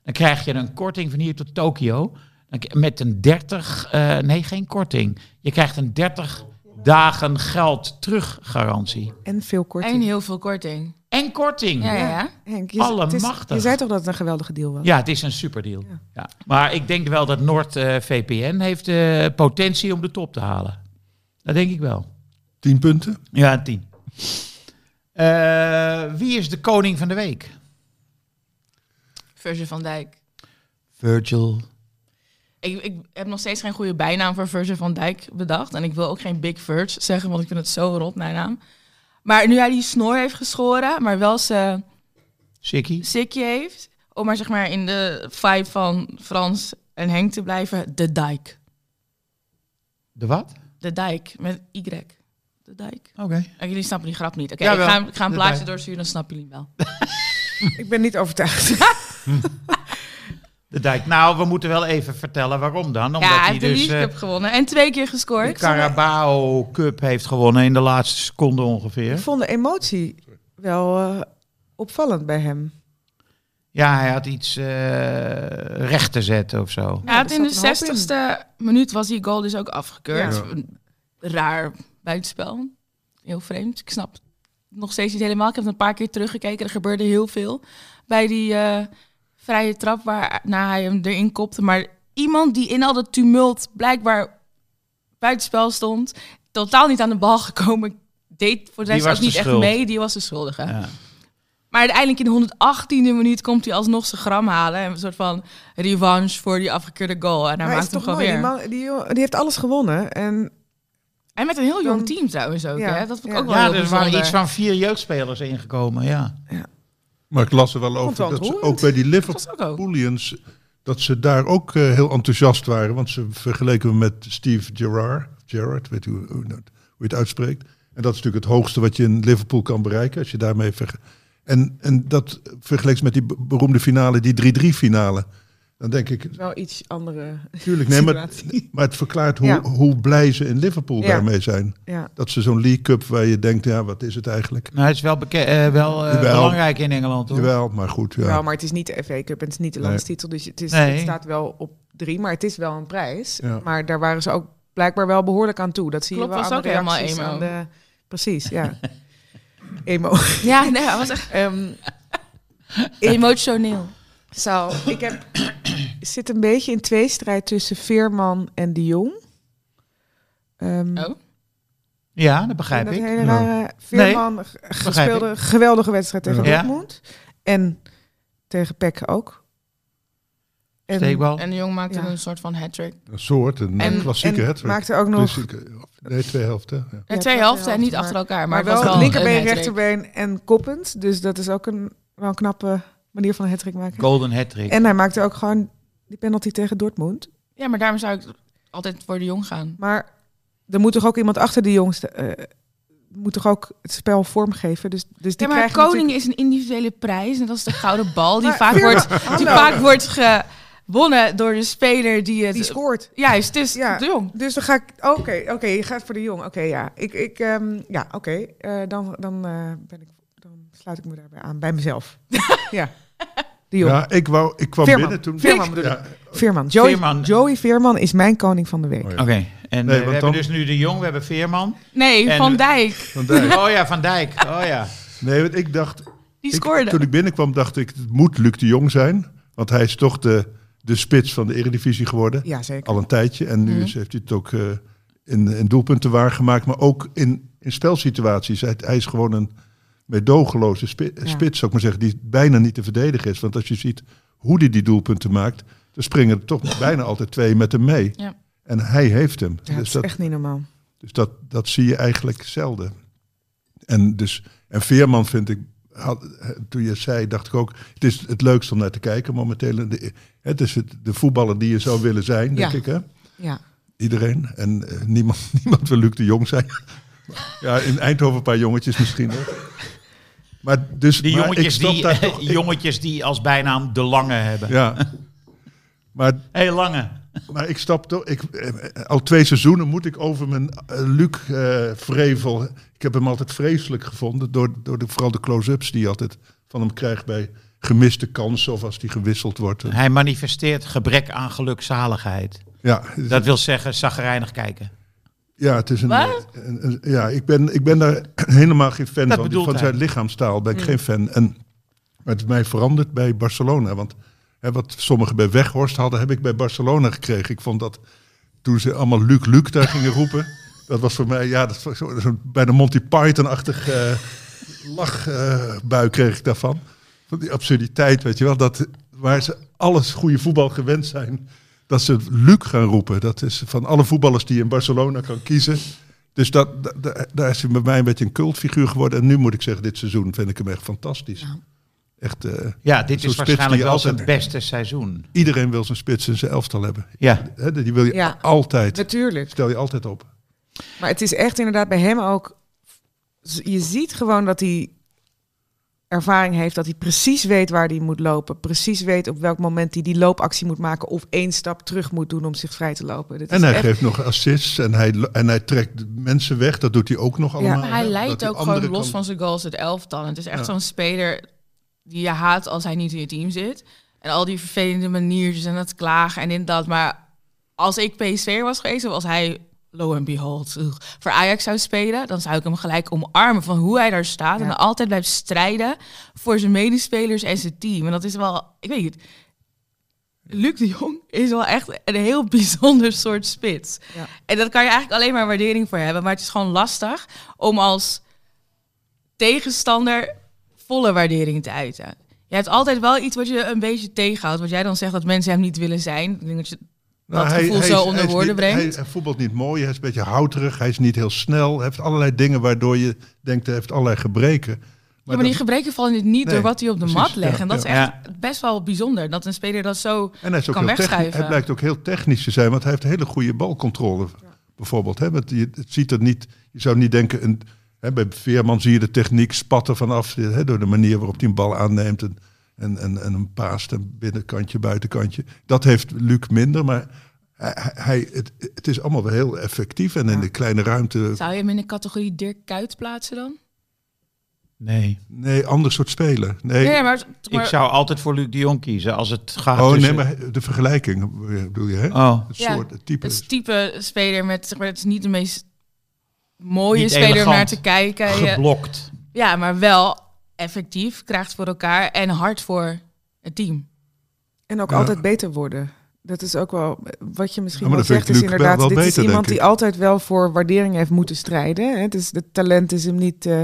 Speaker 1: dan krijg je een korting van hier tot Tokio dan k- met een 30, eh, nee geen korting, je krijgt een 30 dagen geld teruggarantie.
Speaker 5: En veel
Speaker 2: En
Speaker 5: korting.
Speaker 2: heel veel korting.
Speaker 1: En korting!
Speaker 2: Ja, ja, ja.
Speaker 5: Henk, je, z-
Speaker 1: Alle
Speaker 5: het is-
Speaker 1: machtig.
Speaker 5: je zei toch dat het een geweldige deal was?
Speaker 1: Ja, het is een superdeal. Ja. Maar ik denk wel dat Noord eh, VPN heeft eh, potentie om de top te halen. Dat denk ik wel.
Speaker 4: Tien punten.
Speaker 1: Ja, een tien. Eh, wie is de koning van de week?
Speaker 2: Virgil van Dijk.
Speaker 1: Virgil.
Speaker 2: Ik, ik heb nog steeds geen goede bijnaam voor Virgil van Dijk bedacht. En ik wil ook geen Big Virg zeggen, want ik vind het zo rot, mijn naam. Maar nu hij die snor heeft geschoren, maar wel zijn
Speaker 1: Sikkie.
Speaker 2: sikje heeft... om maar zeg maar in de vibe van Frans en Henk te blijven, de dijk.
Speaker 1: De wat?
Speaker 2: De dijk, met Y. De dijk.
Speaker 1: Oké.
Speaker 2: En jullie snappen die grap niet. Oké,
Speaker 1: Jawel,
Speaker 2: ik, ga, ik ga een
Speaker 1: de
Speaker 2: plaatje
Speaker 1: dijk.
Speaker 2: doorsturen, dan snappen jullie hem wel.
Speaker 5: Ik ben niet overtuigd.
Speaker 1: De dijk. Nou, we moeten wel even vertellen waarom dan. Omdat
Speaker 2: ja, hij
Speaker 1: hij
Speaker 2: heeft de
Speaker 1: dus
Speaker 2: League
Speaker 1: eh
Speaker 2: Cup gewonnen en twee keer
Speaker 1: de
Speaker 2: gescoord.
Speaker 1: Carabao Cup heeft gewonnen in de laatste seconde
Speaker 5: <laughs> Ik
Speaker 1: ongeveer.
Speaker 5: vond de emotie wel eh, opvallend bij
Speaker 2: Nou,
Speaker 5: hem.
Speaker 1: Ja, hij had iets eh, recht te zetten of zo.
Speaker 2: Ja,
Speaker 5: Ja,
Speaker 2: het
Speaker 5: er
Speaker 2: in de
Speaker 5: zat een hoop
Speaker 2: 60ste minuut was die goal dus ook afgekeurd.
Speaker 4: Ja.
Speaker 2: Een Raar buitenspel. Heel vreemd. Ik snap het nog steeds niet helemaal. Ik heb het een paar keer teruggekeken. Er gebeurde heel veel bij die eh, vrije trap waarna hij hem erin kopte. Maar iemand die in al dat tumult blijkbaar buitenspel stond, totaal niet aan de bal gekomen, deed voor de
Speaker 1: Die
Speaker 2: rest ook
Speaker 1: was de
Speaker 2: niet echt
Speaker 1: schuld.
Speaker 2: mee. Die was de schuldige.
Speaker 1: Ja.
Speaker 2: Maar uiteindelijk in de 118e minuut komt hij alsnog zijn gram halen. Een soort van revanche voor die afgekeurde goal. En hij
Speaker 5: maar is
Speaker 2: maakt hem
Speaker 5: toch
Speaker 2: gewoon
Speaker 5: mooi, die,
Speaker 2: weer.
Speaker 5: man, die, jongen- die heeft alles gewonnen. En
Speaker 2: En met een heel jong
Speaker 5: Dan-
Speaker 2: team trouwens ook.
Speaker 5: Ja,
Speaker 2: Hè? Dat vond ik
Speaker 5: ja.
Speaker 2: ook wel
Speaker 1: Ja,
Speaker 2: heel
Speaker 1: er
Speaker 2: bijzonder.
Speaker 1: waren iets van vier jeugdspelers ingekomen, ja.
Speaker 4: Maar ik las er wel over
Speaker 5: wel
Speaker 4: dat ze
Speaker 5: ontroerend.
Speaker 4: ook bij die
Speaker 2: Dat was ook ook.
Speaker 4: Liverpoolians... dat ze daar ook eh, heel enthousiast waren. Want ze vergeleken hem met Steve Gerrard. Gerrard, weet u hoe, hoe dat- hoe je het uitspreekt. En dat is natuurlijk het hoogste wat je in Liverpool kan bereiken. Als je daarmee verge- en, en dat vergelijkt met die be- beroemde finale, die 3-3 finale. Dan denk ik,
Speaker 5: wel iets andere
Speaker 4: natuurlijk, nee, maar,
Speaker 5: situatie.
Speaker 4: maar het verklaart hoe,
Speaker 5: Ja.
Speaker 4: hoe blij ze in Liverpool
Speaker 5: Ja.
Speaker 4: daarmee zijn.
Speaker 5: Ja.
Speaker 4: Dat ze zo'n League Cup waar je denkt, ja, wat is het eigenlijk?
Speaker 1: Nou, het is wel, beke- eh, wel, eh,
Speaker 4: Jawel.
Speaker 1: belangrijk in Engeland, hoor.
Speaker 4: Jawel, maar goed, ja.
Speaker 5: Wel, Nou, maar het is niet de FA Cup en het is niet de
Speaker 4: Nee.
Speaker 5: landstitel. Dus het, is,
Speaker 1: Nee.
Speaker 5: het staat wel op drie, maar het is wel een prijs.
Speaker 4: Ja.
Speaker 5: Maar daar waren ze ook blijkbaar wel behoorlijk aan toe. Dat zie
Speaker 2: Klopt,
Speaker 5: je wel
Speaker 2: was
Speaker 5: aan
Speaker 2: ook
Speaker 5: de
Speaker 2: helemaal
Speaker 5: reacties
Speaker 2: emo. Ehm,
Speaker 5: aan de- precies,
Speaker 2: <laughs>
Speaker 5: ja. emo.
Speaker 2: Ja, nee, hij was echt
Speaker 5: Ehm,
Speaker 2: emotioneel.
Speaker 5: zo, ik heb, <coughs> zit een beetje in tweestrijd tussen Veerman en de Jong. Ehm,
Speaker 2: Oh.
Speaker 1: Ja, dat begrijp
Speaker 5: dat
Speaker 1: ik.
Speaker 5: hele rare Veerman g- gespeelde een geweldige wedstrijd tegen
Speaker 1: Ja. Ja.
Speaker 5: Dortmund. En tegen Peck ook. En,
Speaker 1: Steekbal.
Speaker 2: En de jong maakte
Speaker 5: Ja.
Speaker 2: een soort van hat-trick.
Speaker 4: Een soort, een
Speaker 2: En-
Speaker 4: klassieke
Speaker 5: en
Speaker 4: hattrick.
Speaker 5: maakte ook nog...
Speaker 4: Klassieke- nee, twee helften. Ja.
Speaker 2: Eh,
Speaker 5: Ja,
Speaker 2: twee
Speaker 5: twee
Speaker 2: helften en niet
Speaker 5: helften,
Speaker 2: achter elkaar. Maar,
Speaker 5: Maar, wel,
Speaker 2: het was wel
Speaker 5: linkerbeen,
Speaker 2: een hat-trick.
Speaker 5: rechterbeen en koppend. Dus dat is ook een, wel een knappe manier van een hattrick maken.
Speaker 1: Golden hat-trick.
Speaker 5: En hij maakte ook gewoon die penalty tegen Dortmund.
Speaker 2: Ja, maar daarom zou ik altijd voor de jong gaan.
Speaker 5: Maar er moet toch ook iemand achter de jongste... eh, moet toch ook het spel vormgeven. Dus, dus die
Speaker 2: ja, maar
Speaker 5: krijgt
Speaker 2: koning
Speaker 5: natuurlijk-
Speaker 2: is een individuele prijs. En dat is de gouden bal die
Speaker 5: Maar
Speaker 2: vaak
Speaker 5: Veerman-
Speaker 2: wordt, die
Speaker 5: Hallo.
Speaker 2: vaak wordt gewonnen door de speler die het...
Speaker 5: die scoort.
Speaker 2: Juist, dus
Speaker 5: Ja.
Speaker 2: de jong.
Speaker 5: Dus dan ga ik... Oké, oké, je gaat voor de jong. Oké, ja. Ik, ik, ehm, ja, oké. eh, dan, dan, eh, ben ik, dan sluit ik me daarbij aan. Bij mezelf. <laughs> ja. de Jong.
Speaker 4: Ja, ik, wou, ik kwam
Speaker 5: Veerman.
Speaker 4: binnen toen.
Speaker 5: Veerman bedoel
Speaker 4: ja,
Speaker 5: Veerman. Joey,
Speaker 1: Veerman.
Speaker 5: Joey Veerman is mijn koning van de week.
Speaker 4: Oh ja.
Speaker 1: Oké, en
Speaker 4: Nee,
Speaker 1: eh, we
Speaker 4: want
Speaker 1: hebben
Speaker 4: dan-
Speaker 1: dus nu De Jong, we hebben Veerman.
Speaker 2: Nee,
Speaker 1: En-
Speaker 2: Van Dijk.
Speaker 4: Van Dijk.
Speaker 1: Oh ja, Van Dijk. Oh ja.
Speaker 4: Nee, want ik dacht. ik-
Speaker 2: Die scoorde.
Speaker 4: toen ik binnenkwam, dacht ik: het moet Luc de Jong zijn. Want hij is toch de, de spits van de Eredivisie geworden.
Speaker 5: Ja, Mhm. zeker.
Speaker 4: Al een tijdje. En nu is- heeft hij het ook eh, in, in doelpunten waargemaakt. Maar ook in, in spelsituaties. Hij, hij is gewoon een meedogenloze spi-
Speaker 5: Ja.
Speaker 4: spits, zou ik maar zeggen. Die bijna niet te verdedigen is. Want als je ziet hoe hij die doelpunten maakt. dan springen er toch bijna altijd twee met hem mee.
Speaker 2: Ja.
Speaker 4: En hij heeft hem.
Speaker 5: Ja, dat
Speaker 4: dus
Speaker 5: is
Speaker 4: dat,
Speaker 5: echt niet normaal.
Speaker 4: Dus dat, dat zie je eigenlijk zelden. En, dus, en Veerman vind ik, had, toen je het zei, dacht ik ook, het is het leukste om naar te kijken momenteel. De- het is het, de voetballer die je zou willen zijn, denk
Speaker 5: Ja.
Speaker 4: ik. Hè?
Speaker 5: Ja.
Speaker 4: Iedereen. En eh, niemand, <laughs> niemand wil Luc de Jong zijn. ja, in Eindhoven een paar jongetjes misschien nog. Maar dus,
Speaker 1: Die
Speaker 4: maar ik
Speaker 1: jongetjes,
Speaker 4: snap
Speaker 1: die, eh,
Speaker 4: daar
Speaker 1: <laughs>
Speaker 4: toch- ik-
Speaker 1: jongetjes die als bijnaam De Lange hebben.
Speaker 4: Ja. Maar
Speaker 1: Hé, hey, Lange.
Speaker 4: Maar ik stap toch. Ik, eh, al twee seizoenen moet ik over mijn eh, Luc eh vrevel. Ik heb hem altijd vreselijk gevonden. Door, door de, vooral de close-ups die je altijd van hem krijgt bij gemiste kansen of als die gewisseld wordt.
Speaker 1: Hij manifesteert gebrek aan gelukzaligheid.
Speaker 4: Ja, het is-
Speaker 1: Dat wil zeggen, zagrijnig kijken.
Speaker 4: ja het is een.
Speaker 2: Wat?
Speaker 4: een- een- ja, ik ben, ik ben daar helemaal geen fan
Speaker 1: Dat
Speaker 4: van.
Speaker 1: bedoelt
Speaker 4: Van
Speaker 1: hij. Mm.
Speaker 4: zijn lichaamstaal ben ik geen fan. En, maar het is mij veranderd bij Barcelona. Want hè, wat sommigen bij Weghorst hadden, heb ik bij Barcelona gekregen. Ik vond dat toen ze allemaal Luc Luc daar
Speaker 1: <laughs>
Speaker 4: gingen roepen. Dat was voor mij, ja, dat was zo, zo, bij de Monty Python-achtig eh, lachbui kreeg ik daarvan. Van die absurditeit, weet je wel. Dat, waar ze alles goede voetbal gewend zijn, dat ze Luc gaan roepen. Dat is van alle voetballers die je in Barcelona kan kiezen. Dus dat, da- da- daar is hij bij mij een beetje een cultfiguur geworden. En nu moet ik zeggen, dit seizoen vind ik hem echt fantastisch. Echt, eh,
Speaker 1: Ja, dit
Speaker 4: Zo'n
Speaker 1: is dus
Speaker 4: spits
Speaker 1: waarschijnlijk
Speaker 4: die
Speaker 1: wel
Speaker 4: altijd-
Speaker 1: zijn beste seizoen.
Speaker 4: iedereen wil zijn spits in zijn elftal hebben.
Speaker 1: Ja.
Speaker 4: Hè, die wil je
Speaker 5: Ja.
Speaker 4: altijd,
Speaker 5: Natuurlijk.
Speaker 4: stel je altijd op.
Speaker 5: Maar het is echt inderdaad bij hem ook. Je ziet gewoon dat hij ervaring heeft, dat hij precies weet waar hij moet lopen. Precies weet op welk moment hij die loopactie moet maken of één stap terug moet doen om zich vrij te lopen. Dit
Speaker 4: En
Speaker 5: is
Speaker 4: hij
Speaker 5: echt-
Speaker 4: geeft nog assists en hij, lo- en hij trekt de mensen weg. Dat doet hij ook nog allemaal.
Speaker 2: Maar hij
Speaker 4: hè, dat
Speaker 2: leidt
Speaker 4: die
Speaker 2: ook
Speaker 4: anderen
Speaker 2: gewoon los
Speaker 4: kan-
Speaker 2: van zijn goals het elftal. Het is echt
Speaker 4: Ja.
Speaker 2: zo'n speler die je haat als hij niet in je team zit. En al die vervelende maniertjes en dat klagen en in dat. Maar als ik PSV'er was geweest of als hij, lo and behold, ugh, voor Ajax zou spelen... dan zou ik hem gelijk omarmen van hoe hij daar staat.
Speaker 5: Ja.
Speaker 2: En altijd blijft strijden voor zijn medespelers en zijn team. En dat is wel, ik weet niet... Luc de Jong is wel echt een heel <laughs> bijzonder soort spits.
Speaker 5: Ja.
Speaker 2: En daar kan je eigenlijk alleen maar waardering voor hebben. Maar het is gewoon lastig om als tegenstander volle waardering te uiten. Je hebt altijd wel iets wat je een beetje tegenhoudt. Wat jij dan zegt dat mensen hem niet willen zijn. Ik denk dat je
Speaker 4: Nou,
Speaker 2: dat gevoel
Speaker 4: is-
Speaker 2: zo onder
Speaker 4: hij is
Speaker 2: woorden
Speaker 4: niet- hij-
Speaker 2: brengt.
Speaker 4: Hij, voetbalt niet mooi, hij is een beetje houterig, hij is niet heel snel. Hij heeft allerlei dingen waardoor je denkt, hij heeft allerlei gebreken.
Speaker 2: Maar, die
Speaker 4: dat-
Speaker 2: gebreken vallen dit niet
Speaker 4: Nee,
Speaker 2: door wat hij op de
Speaker 4: precies,
Speaker 2: mat legt.
Speaker 4: ja,
Speaker 2: en dat
Speaker 4: ja.
Speaker 2: is echt best wel bijzonder. Dat een speler dat zo
Speaker 4: en hij, is ook
Speaker 2: kan
Speaker 4: heel technisch,
Speaker 2: wegschuiven.
Speaker 4: hij blijkt ook heel technisch te zijn, want hij heeft hele goede balcontrole. Bijvoorbeeld, hè, want je, het ziet er niet, je zou niet denken, een, hè, bij Veerman zie je de techniek spatten vanaf, hè, door de manier waarop hij een bal aanneemt en, en, en, en een paast, een binnenkantje, buitenkantje. Dat heeft Luc minder, maar hij, hij- het, het is allemaal wel heel effectief en in de kleine ruimte
Speaker 2: Zou je hem in de categorie Dirk Kuyt plaatsen dan?
Speaker 1: Nee.
Speaker 4: Nee, ander soort spelen. Nee,
Speaker 2: nee, maar, maar-
Speaker 1: Ik zou altijd voor Luc de Jong kiezen als het gaat
Speaker 4: oh, nee
Speaker 1: tussen-
Speaker 4: maar de vergelijking bedoel je, hè?
Speaker 1: Oh,
Speaker 4: Het
Speaker 2: Ja,
Speaker 4: soort, het type.
Speaker 2: het type speler met, zeg maar, het is niet de meest mooie
Speaker 1: Niet
Speaker 2: speler om
Speaker 1: elegant.
Speaker 2: naar te kijken. Je-
Speaker 1: geblokt.
Speaker 2: ja, maar wel effectief, krijgt voor elkaar en hard voor het team.
Speaker 5: En ook
Speaker 4: Ja.
Speaker 5: altijd beter worden. Dat is ook wel wat je misschien
Speaker 4: Ja, maar
Speaker 5: wel
Speaker 4: dat
Speaker 5: zegt,
Speaker 4: vind
Speaker 5: is
Speaker 4: ik Luc wel-
Speaker 5: inderdaad,
Speaker 4: wel
Speaker 5: dit
Speaker 4: beter,
Speaker 5: is iemand
Speaker 4: denk ik.
Speaker 5: die altijd wel voor waardering heeft moeten strijden. Hè? Dus het talent is hem niet... eh,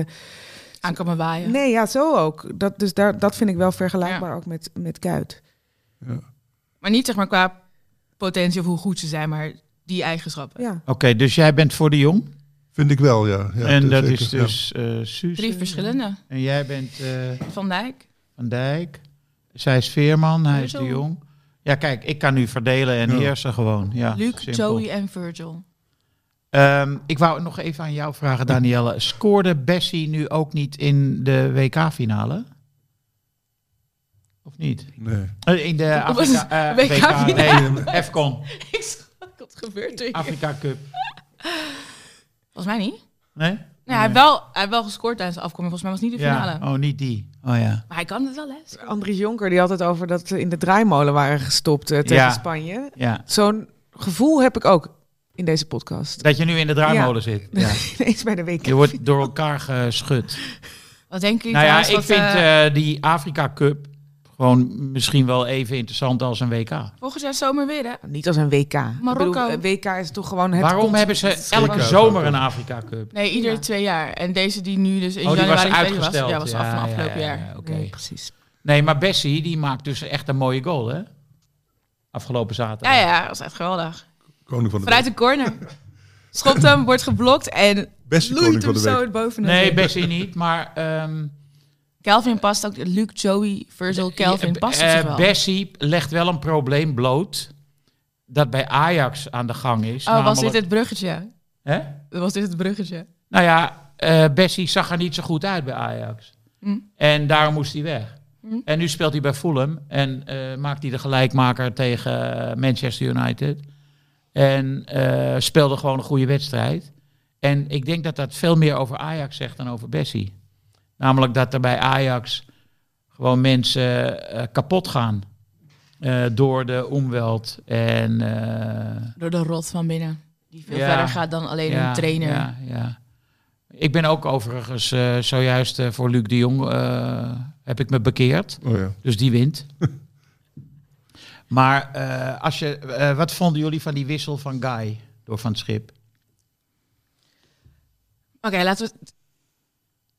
Speaker 2: Aan kan me waaien.
Speaker 5: Nee, ja, zo ook. Dat, dus daar, dat vind ik wel vergelijkbaar ook met, met Kuit.
Speaker 2: Maar niet zeg maar qua potentie of hoe goed ze zijn, maar die eigenschappen.
Speaker 5: Ja.
Speaker 1: Oké, dus jij bent voor de Jong.
Speaker 4: Vind ik wel, ja. ja
Speaker 1: en dat
Speaker 4: zeker,
Speaker 1: is
Speaker 4: ja.
Speaker 1: dus eh Suze.
Speaker 2: Drie verschillende.
Speaker 1: En jij bent eh,
Speaker 2: Van Dijk.
Speaker 1: Van Dijk. Zij is Veerman, hij is de
Speaker 2: Virgil.
Speaker 1: Jong. Ja, kijk, ik kan nu verdelen en
Speaker 4: Ja.
Speaker 1: heersen gewoon. Ja,
Speaker 2: Luke,
Speaker 1: simpel.
Speaker 2: Joey en Virgil.
Speaker 1: Ehm, ik wou nog even aan jou vragen, Danielle. Scoorde Bessie nu ook niet in de WK-finale? Of niet?
Speaker 4: Nee.
Speaker 1: Eh, In de
Speaker 2: Of was
Speaker 1: Afrika, eh,
Speaker 2: het WK
Speaker 1: WK, nee, Afcon,
Speaker 2: Ik schrok, wat gebeurt er hier?
Speaker 1: Afrika Cup.
Speaker 2: Volgens mij niet.
Speaker 1: Nee?
Speaker 2: hij, heeft wel, hij heeft wel gescoord tijdens de afkomst. Volgens mij was het niet de finale.
Speaker 1: Ja. Oh, niet die. Oh ja.
Speaker 2: Maar hij kan het wel, hè?
Speaker 5: Andries Jonker die had het over dat ze in de draaimolen waren gestopt eh, tegen
Speaker 1: Ja.
Speaker 5: Spanje.
Speaker 1: ja.
Speaker 5: Zo'n gevoel heb ik ook in deze podcast. <laughs>
Speaker 1: Dat je nu in de draaimolen zit. Ja.
Speaker 5: Ineens bij de week.
Speaker 1: Je wordt door elkaar geschud.
Speaker 2: Wat denken
Speaker 1: Nou
Speaker 2: jullie
Speaker 1: ja,
Speaker 2: trouwens
Speaker 1: ik
Speaker 2: wat,
Speaker 1: vind
Speaker 2: eh,
Speaker 1: eh, die Afrika Cup gewoon misschien wel even interessant als een WK.
Speaker 2: volgend jaar zomer weer, hè?
Speaker 5: Niet als een WK. Ik
Speaker 2: Marokko.
Speaker 5: bedoel, eh, WK is toch gewoon het
Speaker 1: Waarom
Speaker 5: cont-
Speaker 1: hebben ze elke
Speaker 4: Zeker.
Speaker 1: zomer een Afrika Cup?
Speaker 2: Nee, ieder twee jaar. En deze die nu dus in
Speaker 1: Oh, die was
Speaker 2: januari tweede
Speaker 1: uitgesteld.
Speaker 2: was. Ja, was af van afgelopen
Speaker 1: ja, ja,
Speaker 2: jaar.
Speaker 1: ja, oké.
Speaker 5: Nee, precies.
Speaker 1: Nee, maar Bessie die maakt dus echt een mooie goal, hè? Afgelopen
Speaker 2: Ja,
Speaker 1: zaterdag.
Speaker 2: ja, dat was echt geweldig.
Speaker 4: Koning van de
Speaker 2: Vanuit de corner. Schopt hem, wordt geblokt en
Speaker 4: Beste koning
Speaker 2: loeit
Speaker 4: van
Speaker 2: hem
Speaker 4: de
Speaker 2: zo
Speaker 4: week.
Speaker 2: het bovenop.
Speaker 1: Nee, Bessie niet, maar ehm,
Speaker 2: Calvin past ook. Luke, Joey, Virgil, Calvin
Speaker 1: eh,
Speaker 2: Dus past op
Speaker 1: eh,
Speaker 2: zich wel.
Speaker 1: Bessie legt wel een probleem bloot dat bij Ajax aan de gang is.
Speaker 2: oh, was dit
Speaker 1: namelijk-
Speaker 2: het bruggetje?
Speaker 1: Hè?
Speaker 2: Was dit het bruggetje?
Speaker 1: Nou ja, eh, Bessie zag er niet zo goed uit bij Ajax.
Speaker 2: Hm.
Speaker 1: En daarom moest hij weg.
Speaker 2: Hm.
Speaker 1: En nu speelt hij bij Fulham en eh, maakt hij de gelijkmaker tegen eh, Manchester United. En eh, speelde gewoon een goede wedstrijd. En ik denk dat dat veel meer over Ajax zegt dan over Bessie. Namelijk dat er bij Ajax gewoon mensen eh, kapot gaan. eh, door de omweld. En, eh,
Speaker 2: Door de rot van binnen. Die veel
Speaker 1: Ja.
Speaker 2: verder gaat dan alleen
Speaker 1: ja,
Speaker 2: een trainer.
Speaker 1: Ja, ja. Ik ben ook overigens eh, zojuist eh, voor Luc de Jong eh, heb ik me bekeerd.
Speaker 4: Oh ja.
Speaker 1: Dus die <laughs> wint. maar eh, als je, eh, wat vonden jullie van die wissel van Guy door Van het Schip?
Speaker 2: Oké, laten we... het-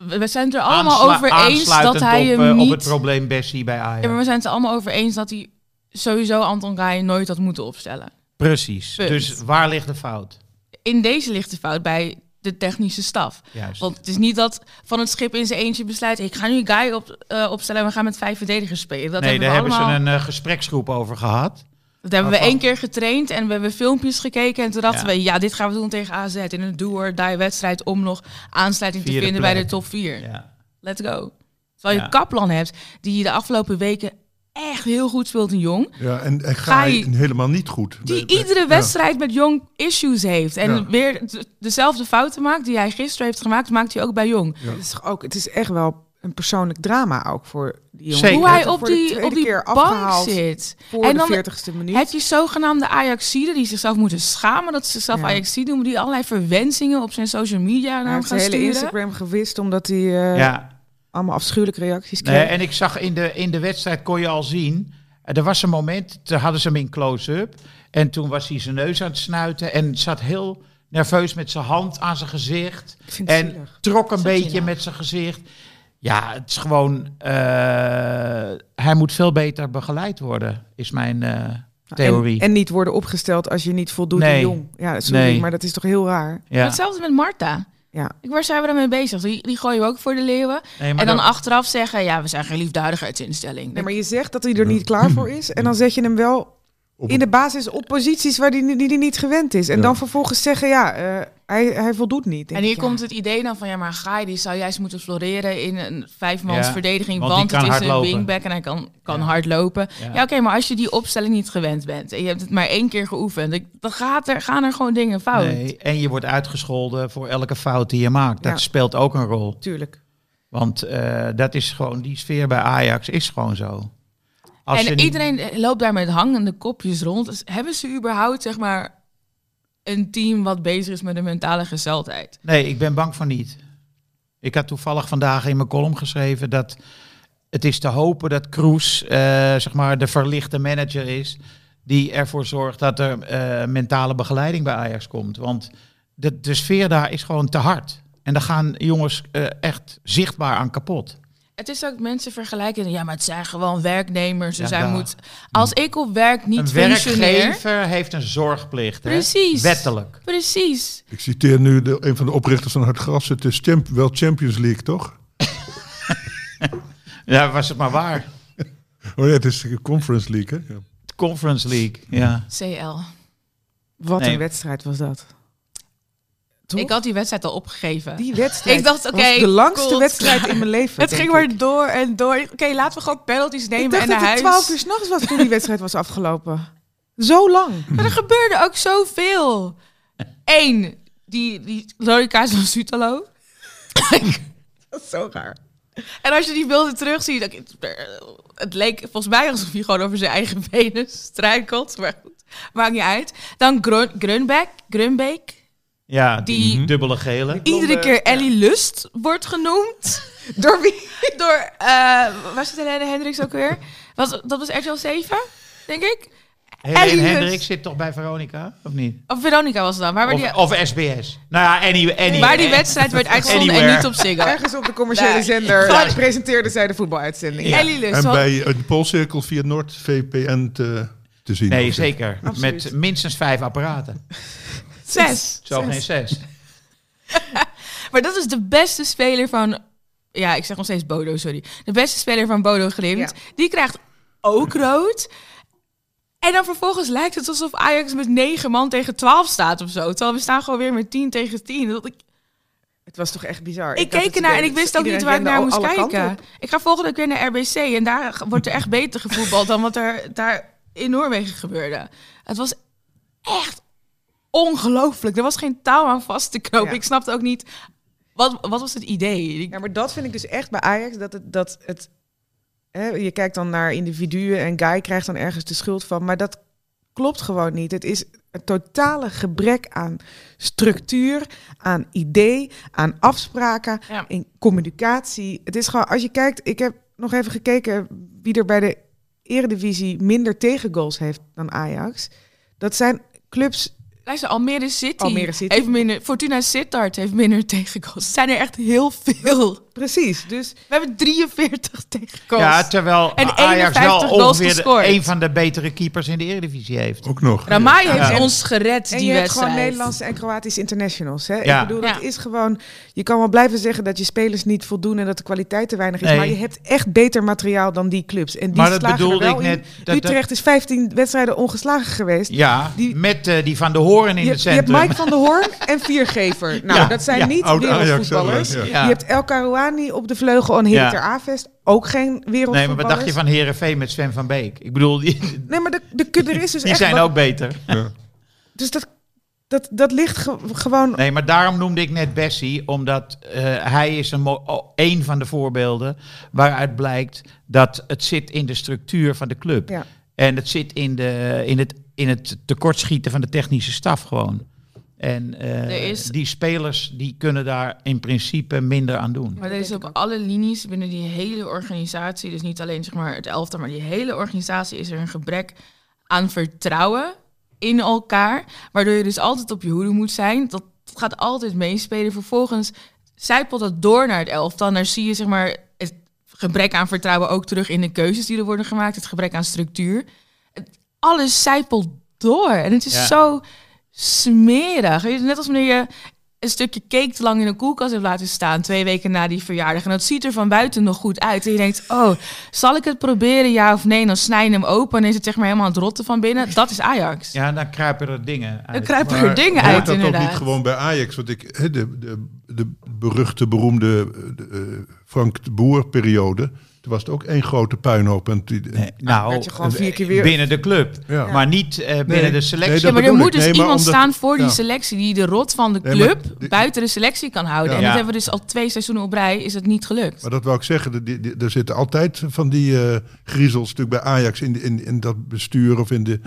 Speaker 2: We we zijn het er allemaal
Speaker 1: Aansla-
Speaker 2: over eens
Speaker 1: aansluitend
Speaker 2: dat hij
Speaker 1: op,
Speaker 2: hem
Speaker 1: eh,
Speaker 2: niet...
Speaker 1: op het probleem Bessie bij Ajax.
Speaker 2: Ja, maar we zijn het er allemaal over eens dat hij sowieso Anton Gaaien nooit had moeten opstellen.
Speaker 1: Precies.
Speaker 2: Punt.
Speaker 1: Dus waar ligt de fout?
Speaker 2: In deze ligt de fout bij de technische staf.
Speaker 1: Juist.
Speaker 2: Want het is niet dat van het schip in zijn eentje besluit... ik ga nu Guy op, eh, opstellen en we gaan met vijf verdedigers spelen. Dat
Speaker 1: nee,
Speaker 2: hebben
Speaker 1: daar
Speaker 2: we
Speaker 1: hebben
Speaker 2: allemaal...
Speaker 1: ze een eh, gespreksgroep over gehad.
Speaker 2: Dat hebben we
Speaker 1: Waarvan-
Speaker 2: één keer getraind en we hebben filmpjes gekeken. En toen dachten
Speaker 1: Ja.
Speaker 2: we, ja, dit gaan we doen tegen AZ. In een do-or-die wedstrijd om nog aansluiting te
Speaker 1: Vierde
Speaker 2: vinden bij
Speaker 1: plek.
Speaker 2: de top 4.
Speaker 1: Ja.
Speaker 2: Let's go. Terwijl je
Speaker 1: Ja.
Speaker 2: Kaplan hebt, die de afgelopen weken echt heel goed speelt in Jong.
Speaker 4: Ja, en, en
Speaker 2: Ga je-
Speaker 4: Gaai helemaal niet goed.
Speaker 2: Die
Speaker 4: Bij- bij-
Speaker 2: iedere
Speaker 4: ja.
Speaker 2: wedstrijd met Jong issues heeft. En
Speaker 4: Ja.
Speaker 2: weer de- dezelfde fouten maakt die hij gisteren heeft gemaakt, maakt hij ook bij Jong.
Speaker 4: Ja.
Speaker 5: Het is, toch ook, het is echt wel een persoonlijk drama ook voor die jongen.
Speaker 1: Zeker.
Speaker 2: Hoe
Speaker 5: Hij
Speaker 2: hij
Speaker 5: wordt
Speaker 2: op
Speaker 5: voor de
Speaker 2: die,
Speaker 5: tweede
Speaker 2: op die
Speaker 5: keer
Speaker 2: bank
Speaker 5: afgehaald
Speaker 2: zit.
Speaker 5: Voor
Speaker 2: En
Speaker 5: de
Speaker 2: dan
Speaker 5: 40ste minuut.
Speaker 2: Heb je zogenaamde Ajaxiden die zichzelf moeten schamen dat ze zichzelf
Speaker 5: Ja.
Speaker 2: Ajaxiden noemen, die allerlei verwensingen op zijn social media naar
Speaker 5: hij
Speaker 2: hem
Speaker 5: heeft
Speaker 2: gaan
Speaker 5: zijn hele
Speaker 2: sturen?
Speaker 5: Instagram gewist omdat hij eh,
Speaker 1: ja.
Speaker 5: allemaal afschuwelijke reacties
Speaker 1: Nee,
Speaker 5: kreeg.
Speaker 1: Eh, en ik zag in de, in de wedstrijd, kon je al zien, eh, er was een moment, toen hadden ze hem in close-up. En toen was hij zijn neus aan het snuiten en zat heel nerveus met zijn hand aan zijn gezicht.
Speaker 5: Ik vind het
Speaker 1: En
Speaker 5: zielig.
Speaker 1: trok een
Speaker 2: Zat hij
Speaker 1: beetje
Speaker 2: nou?
Speaker 1: met zijn gezicht. Ja, het is gewoon, eh, hij moet veel beter begeleid worden, is mijn
Speaker 2: Nou,
Speaker 1: eh, theorie.
Speaker 5: En, en niet worden opgesteld als je niet voldoet
Speaker 1: Nee.
Speaker 5: in jong. Ja, sorry,
Speaker 1: Nee.
Speaker 5: maar dat is toch heel raar.
Speaker 2: Maar
Speaker 1: ja.
Speaker 2: Hetzelfde met Marta.
Speaker 5: Ja.
Speaker 2: Ik, waar zijn we daarmee bezig? Die, die gooien we ook voor de leeuwen.
Speaker 1: Nee, maar
Speaker 2: en dan
Speaker 1: dat-
Speaker 2: achteraf zeggen, ja, we zijn geen liefdadigheidsinstelling.
Speaker 5: Nee, maar je zegt dat hij er niet klaar voor is. En dan zet je hem wel
Speaker 4: Op-
Speaker 5: in de basis op posities waar hij, ni- die hij niet gewend is. En
Speaker 4: Ja.
Speaker 5: dan vervolgens zeggen, ja, eh, hij, hij voldoet niet. Denk
Speaker 2: en hier
Speaker 5: ik, ja.
Speaker 2: komt het idee dan van, ja, maar Gaai die zou juist moeten floreren in een vijfmans
Speaker 1: Ja,
Speaker 2: verdediging.
Speaker 1: want
Speaker 2: Want,
Speaker 1: die kan
Speaker 2: het is een
Speaker 1: hardlopen.
Speaker 2: wingback en hij kan, kan
Speaker 1: Ja.
Speaker 2: hard lopen.
Speaker 1: Ja.
Speaker 2: Ja, oké, maar als je die opstelling niet gewend bent en je hebt het maar één keer geoefend, ik- dan gaat er, gaan er gewoon dingen fout.
Speaker 1: Nee, en je wordt uitgescholden voor elke fout die je maakt. Dat
Speaker 5: Ja.
Speaker 1: speelt ook een rol.
Speaker 5: Tuurlijk.
Speaker 1: Want eh, dat is gewoon, die sfeer bij Ajax is gewoon zo. Als je
Speaker 2: en
Speaker 1: niet-
Speaker 2: iedereen eh, loopt daar met hangende kopjes rond. Dus hebben ze überhaupt, zeg maar, een team wat bezig is met de mentale gesteldheid?
Speaker 1: Nee, ik ben bang van niet. Ik had toevallig vandaag in mijn column geschreven dat het is te hopen dat Kroes eh, zeg maar de verlichte manager is die ervoor zorgt dat er eh, mentale begeleiding bij Ajax komt. Want de, de sfeer daar is gewoon te hard. En daar gaan jongens eh, echt zichtbaar aan kapot.
Speaker 2: Het is ook mensen vergelijken. Ja, maar het zijn gewoon werknemers. Dus
Speaker 1: Ja,
Speaker 2: hij
Speaker 1: daar.
Speaker 2: moet. Als ik op werk niet
Speaker 1: een
Speaker 2: functioneer.
Speaker 1: werkgever heeft een zorgplicht. Hè?
Speaker 2: Precies.
Speaker 1: Wettelijk.
Speaker 2: Precies.
Speaker 4: Ik citeer nu de, een van de oprichters van Hartgras. Het is champ, wel Champions League, toch?
Speaker 1: Ja, was het maar waar.
Speaker 4: Oh ja, het is de Conference League, hè? Ja.
Speaker 1: Conference League. Ja.
Speaker 2: CL.
Speaker 5: Wat
Speaker 1: Nee.
Speaker 5: een wedstrijd was dat. Toch?
Speaker 2: Ik had die wedstrijd al opgegeven.
Speaker 5: Die
Speaker 2: <laughs>
Speaker 5: wedstrijd
Speaker 2: Ik dacht,
Speaker 5: was
Speaker 2: oké,
Speaker 5: de langste
Speaker 2: cool.
Speaker 5: wedstrijd in mijn
Speaker 2: <laughs>
Speaker 5: leven.
Speaker 2: het
Speaker 5: denk
Speaker 2: ging
Speaker 5: ik.
Speaker 2: maar door en door. Oké, laten we gewoon penalties nemen
Speaker 5: Ik dacht
Speaker 2: en naar
Speaker 5: dat het
Speaker 2: huis.
Speaker 5: 12 uur s'nachts was toen die wedstrijd was afgelopen. Zo
Speaker 2: <laughs>
Speaker 5: lang.
Speaker 2: Maar er gebeurde ook zoveel. Eén, die, die rode kaart van Sutalo.
Speaker 5: <laughs> Dat is zo raar.
Speaker 2: En als je die beelden terugziet, dan, het leek volgens mij alsof hij gewoon over zijn eigen benen struikelt. Maar goed, maakt niet uit. Dan Grun Grunbeck, Grunbeek.
Speaker 1: Ja, die,
Speaker 2: Die-
Speaker 1: dubbele gele.
Speaker 2: Iedere keer Ellie Lust wordt genoemd.
Speaker 5: <laughs> Door wie?
Speaker 2: Door, eh was het Helene Hendricks ook weer? Was, dat was RTL 7, denk ik.
Speaker 1: Helene
Speaker 2: Ellie
Speaker 1: Hendrik
Speaker 2: Lust.
Speaker 1: zit toch bij Veronica, of niet?
Speaker 2: Of Veronica was het dan. Waar, we die,
Speaker 1: Of, of SBS. Nou ja, anyway. anyway.
Speaker 2: waar die wedstrijd werd uitgezonden en
Speaker 1: Anywhere.
Speaker 2: niet op Ziggo.
Speaker 5: Ergens op de commerciële
Speaker 2: Nee.
Speaker 5: zender
Speaker 2: Gewoon-
Speaker 5: presenteerde zij de voetbaluitzending.
Speaker 1: Ja.
Speaker 2: Ellie Lust.
Speaker 4: En
Speaker 2: want-
Speaker 4: bij eh, de Poolcirkel via Noord VPN te, te zien.
Speaker 1: Nee, zeker.
Speaker 5: Absoluut.
Speaker 1: Met minstens vijf apparaten.
Speaker 2: Zes.
Speaker 1: Zo geen zes.
Speaker 2: Maar dat is de beste speler van... Ja, ik zeg nog steeds Bodo, sorry. De beste speler van Bodo Glimt.
Speaker 5: Ja.
Speaker 2: Die krijgt ook rood. En dan vervolgens lijkt het alsof Ajax met negen man tegen 12 staat of zo. Terwijl we staan gewoon weer met 10 tegen 10. Dat ik,
Speaker 5: Het was toch echt bizar.
Speaker 2: ik
Speaker 5: had
Speaker 2: keek
Speaker 5: het
Speaker 2: ernaar en
Speaker 5: idee
Speaker 2: ik
Speaker 5: dat
Speaker 2: wist ook niet
Speaker 5: iedereen
Speaker 2: waar ik naar
Speaker 5: rende
Speaker 2: moest
Speaker 5: alle kanten
Speaker 2: kijken.
Speaker 5: op.
Speaker 2: Ik ga volgende keer naar RBC en daar <laughs> g- wordt er echt beter gevoetbald dan wat er daar in Noorwegen gebeurde. Het was echt ongelooflijk. Er was geen touw aan vast te knopen.
Speaker 5: Ja.
Speaker 2: Ik snapte ook niet, wat, wat was het idee? Ik-
Speaker 5: Ja, maar dat vind ik dus echt bij Ajax. Dat het, dat het, hè, je kijkt dan naar individuen en Guy krijgt dan ergens de schuld van. Maar dat klopt gewoon niet. Het is een totale gebrek aan structuur, aan idee, aan afspraken,
Speaker 2: Ja.
Speaker 5: in communicatie. Het is gewoon, als je kijkt, ik heb nog even gekeken wie er bij de Eredivisie minder tegengoals heeft dan Ajax. Dat zijn clubs
Speaker 2: Luister, Almere City,
Speaker 5: Almere City.
Speaker 2: heeft minder... Fortuna Sittard heeft minder tegengoals. Het zijn er echt heel veel.
Speaker 5: Precies, dus
Speaker 2: We hebben 43 tegengoals.
Speaker 1: Ja, <laughs> terwijl
Speaker 2: En
Speaker 1: Ajax
Speaker 2: 51
Speaker 1: wel
Speaker 2: goals
Speaker 1: ongeveer de-
Speaker 2: gescoord.
Speaker 1: een van de betere keepers in de Eredivisie heeft.
Speaker 4: Ook nog.
Speaker 2: Ramai
Speaker 1: Ja.
Speaker 2: heeft
Speaker 1: Ja.
Speaker 2: ons gered,
Speaker 5: En
Speaker 2: die
Speaker 5: je hebt
Speaker 2: wedstrijd.
Speaker 5: gewoon Nederlandse en Kroatische internationals. Hè?
Speaker 1: Ja.
Speaker 5: Ik bedoel,
Speaker 2: Ja.
Speaker 5: dat is gewoon... Je kan wel blijven zeggen dat je spelers niet voldoen... en dat de kwaliteit te weinig is.
Speaker 1: Nee.
Speaker 5: Maar je hebt echt beter materiaal dan die clubs. En die
Speaker 1: Maar dat
Speaker 5: slagen er
Speaker 1: bedoelde
Speaker 5: wel
Speaker 1: ik
Speaker 5: in.
Speaker 1: net, dat- dat-
Speaker 5: Utrecht is 15 wedstrijden ongeslagen geweest.
Speaker 1: Ja,
Speaker 5: Die-
Speaker 1: met eh, die van de Hoorn in
Speaker 5: Je,
Speaker 1: het
Speaker 5: je hebt
Speaker 1: centrum.
Speaker 5: Mike van der
Speaker 1: <laughs>
Speaker 5: Hoorn en Viergever. Nou,
Speaker 1: Ja,
Speaker 5: dat zijn
Speaker 1: ja,
Speaker 5: niet
Speaker 4: oud Ajax
Speaker 5: wereldvoetballers.
Speaker 4: zelf, ja.
Speaker 1: Ja.
Speaker 5: Je hebt El Karouani op de vleugel en Hiter
Speaker 1: Ja.
Speaker 5: Avest. Ook geen wereldvoetballers.
Speaker 1: nee, maar wat dacht je van Herenveen met Sven van Beek? Ik bedoel,
Speaker 5: <laughs>
Speaker 1: die,
Speaker 5: Nee, maar de, de, de- er is dus
Speaker 1: die
Speaker 5: echt...
Speaker 1: zijn
Speaker 5: wat-
Speaker 1: ook beter.
Speaker 4: Ja.
Speaker 5: Dus dat, dat, dat ligt ge- gewoon...
Speaker 1: Nee, maar daarom noemde ik net Bessie, omdat eh, hij is een, mo- oh, één van de voorbeelden waaruit blijkt dat het zit in de structuur van de club.
Speaker 5: Ja.
Speaker 1: En het zit in, de, in, het, in het tekortschieten van de technische staf gewoon. En eh,
Speaker 2: Er is-
Speaker 1: die spelers die kunnen daar in principe minder aan doen.
Speaker 2: Maar er is op alle linies binnen die hele organisatie, dus niet alleen zeg maar het elftal, maar die hele organisatie is er een gebrek aan vertrouwen in elkaar, waardoor je dus altijd op je hoede moet zijn. Dat gaat altijd meespelen. Vervolgens zijpelt dat door naar het elftal. Daar zie je zeg maar het gebrek aan vertrouwen ook terug in de keuzes die er worden gemaakt, het gebrek aan structuur. Het- Alles zijpelt door en het is
Speaker 1: Ja.
Speaker 2: zo smerig. Weet je, Net als wanneer je een stukje cake te lang in de koelkast heb laten staan. Twee weken na die verjaardag. En dat ziet er van buiten nog goed uit. En je denkt, oh, zal ik het proberen, ja of nee? En dan snij je hem open en is het zeg maar helemaal aan het rotten van binnen. Dat is Ajax.
Speaker 1: Ja, dan kruipen er dingen uit.
Speaker 2: dan kruipen er
Speaker 4: Maar
Speaker 2: dingen
Speaker 4: hoort
Speaker 2: uit,
Speaker 4: dat ook
Speaker 2: inderdaad.
Speaker 4: niet gewoon bij Ajax? Want ik, hè, de, de, de beruchte, beroemde eh, de, eh, Frank de Boer-periode... toen was het ook één grote puinhoop. En die,
Speaker 1: Nee, nou,
Speaker 5: werd je gewoon vier keer weer-
Speaker 1: binnen de club.
Speaker 4: Ja.
Speaker 1: Maar niet eh, binnen
Speaker 4: Nee,
Speaker 1: de selectie.
Speaker 2: Ja,
Speaker 4: dat
Speaker 2: maar er
Speaker 4: bedoel ik.
Speaker 2: moet dus
Speaker 4: Nee, maar
Speaker 2: iemand
Speaker 4: omdat-
Speaker 2: staan voor die
Speaker 4: ja.
Speaker 2: selectie die de rot van de
Speaker 4: Nee, maar
Speaker 2: club
Speaker 4: die-
Speaker 2: buiten de selectie kan houden.
Speaker 4: Ja.
Speaker 2: En dat
Speaker 1: Ja.
Speaker 2: hebben we dus al twee seizoenen op rij, is dat niet gelukt.
Speaker 4: Maar dat wou ik zeggen, die- die- die- er zitten altijd van die eh, griezels natuurlijk bij Ajax in, de- in, in dat bestuur of in, de,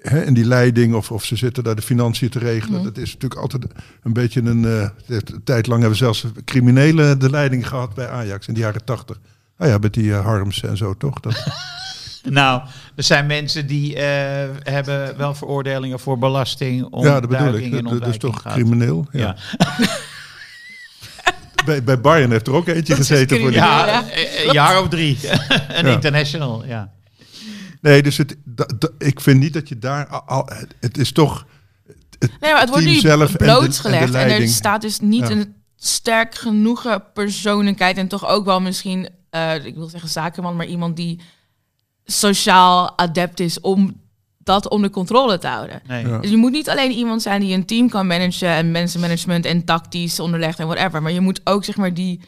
Speaker 4: hè, in die leiding. Of, of ze zitten daar de financiën te
Speaker 2: Mhm.
Speaker 4: regelen. Dat is natuurlijk altijd een beetje een... eh, een tijd lang hebben zelfs criminelen de leiding gehad bij Ajax in de jaren tachtig. Nou ja, met die eh, Harms en zo toch? Dat,
Speaker 1: Nou, er zijn mensen die eh, hebben wel veroordelingen voor belasting,
Speaker 4: ja,
Speaker 1: ontduiking
Speaker 4: dat bedoel ik.
Speaker 1: en
Speaker 4: Dat, dat is
Speaker 1: ontwijking
Speaker 4: toch
Speaker 1: gehad.
Speaker 4: crimineel? Ja.
Speaker 1: Ja.
Speaker 4: <laughs> Bij, bij Bayern heeft er ook eentje
Speaker 2: Dat is
Speaker 4: gezeten voor die
Speaker 2: crimineel.
Speaker 1: Ja,
Speaker 2: Ja,
Speaker 1: eh, een jaar of drie. <laughs> een
Speaker 4: Ja.
Speaker 1: international, ja.
Speaker 4: Nee, dus het, da- da- ik vind niet dat je daar al- al. Het is toch.
Speaker 2: Nee, maar het wordt
Speaker 4: team
Speaker 2: nu
Speaker 4: zelf en de-
Speaker 2: blootgelegd.
Speaker 4: en
Speaker 2: En,
Speaker 4: de
Speaker 2: er
Speaker 4: leiding.
Speaker 2: staat dus niet
Speaker 4: Ja.
Speaker 2: een sterk genoegen persoonlijkheid. En toch ook wel misschien, eh, ik wil zeggen zakenman, maar iemand die sociaal adept is om dat onder controle te houden.
Speaker 1: Nee.
Speaker 4: Ja.
Speaker 2: Dus je moet niet alleen iemand zijn die een team kan managen en mensenmanagement en tactisch onderlegd en whatever. Maar je moet ook zeg maar die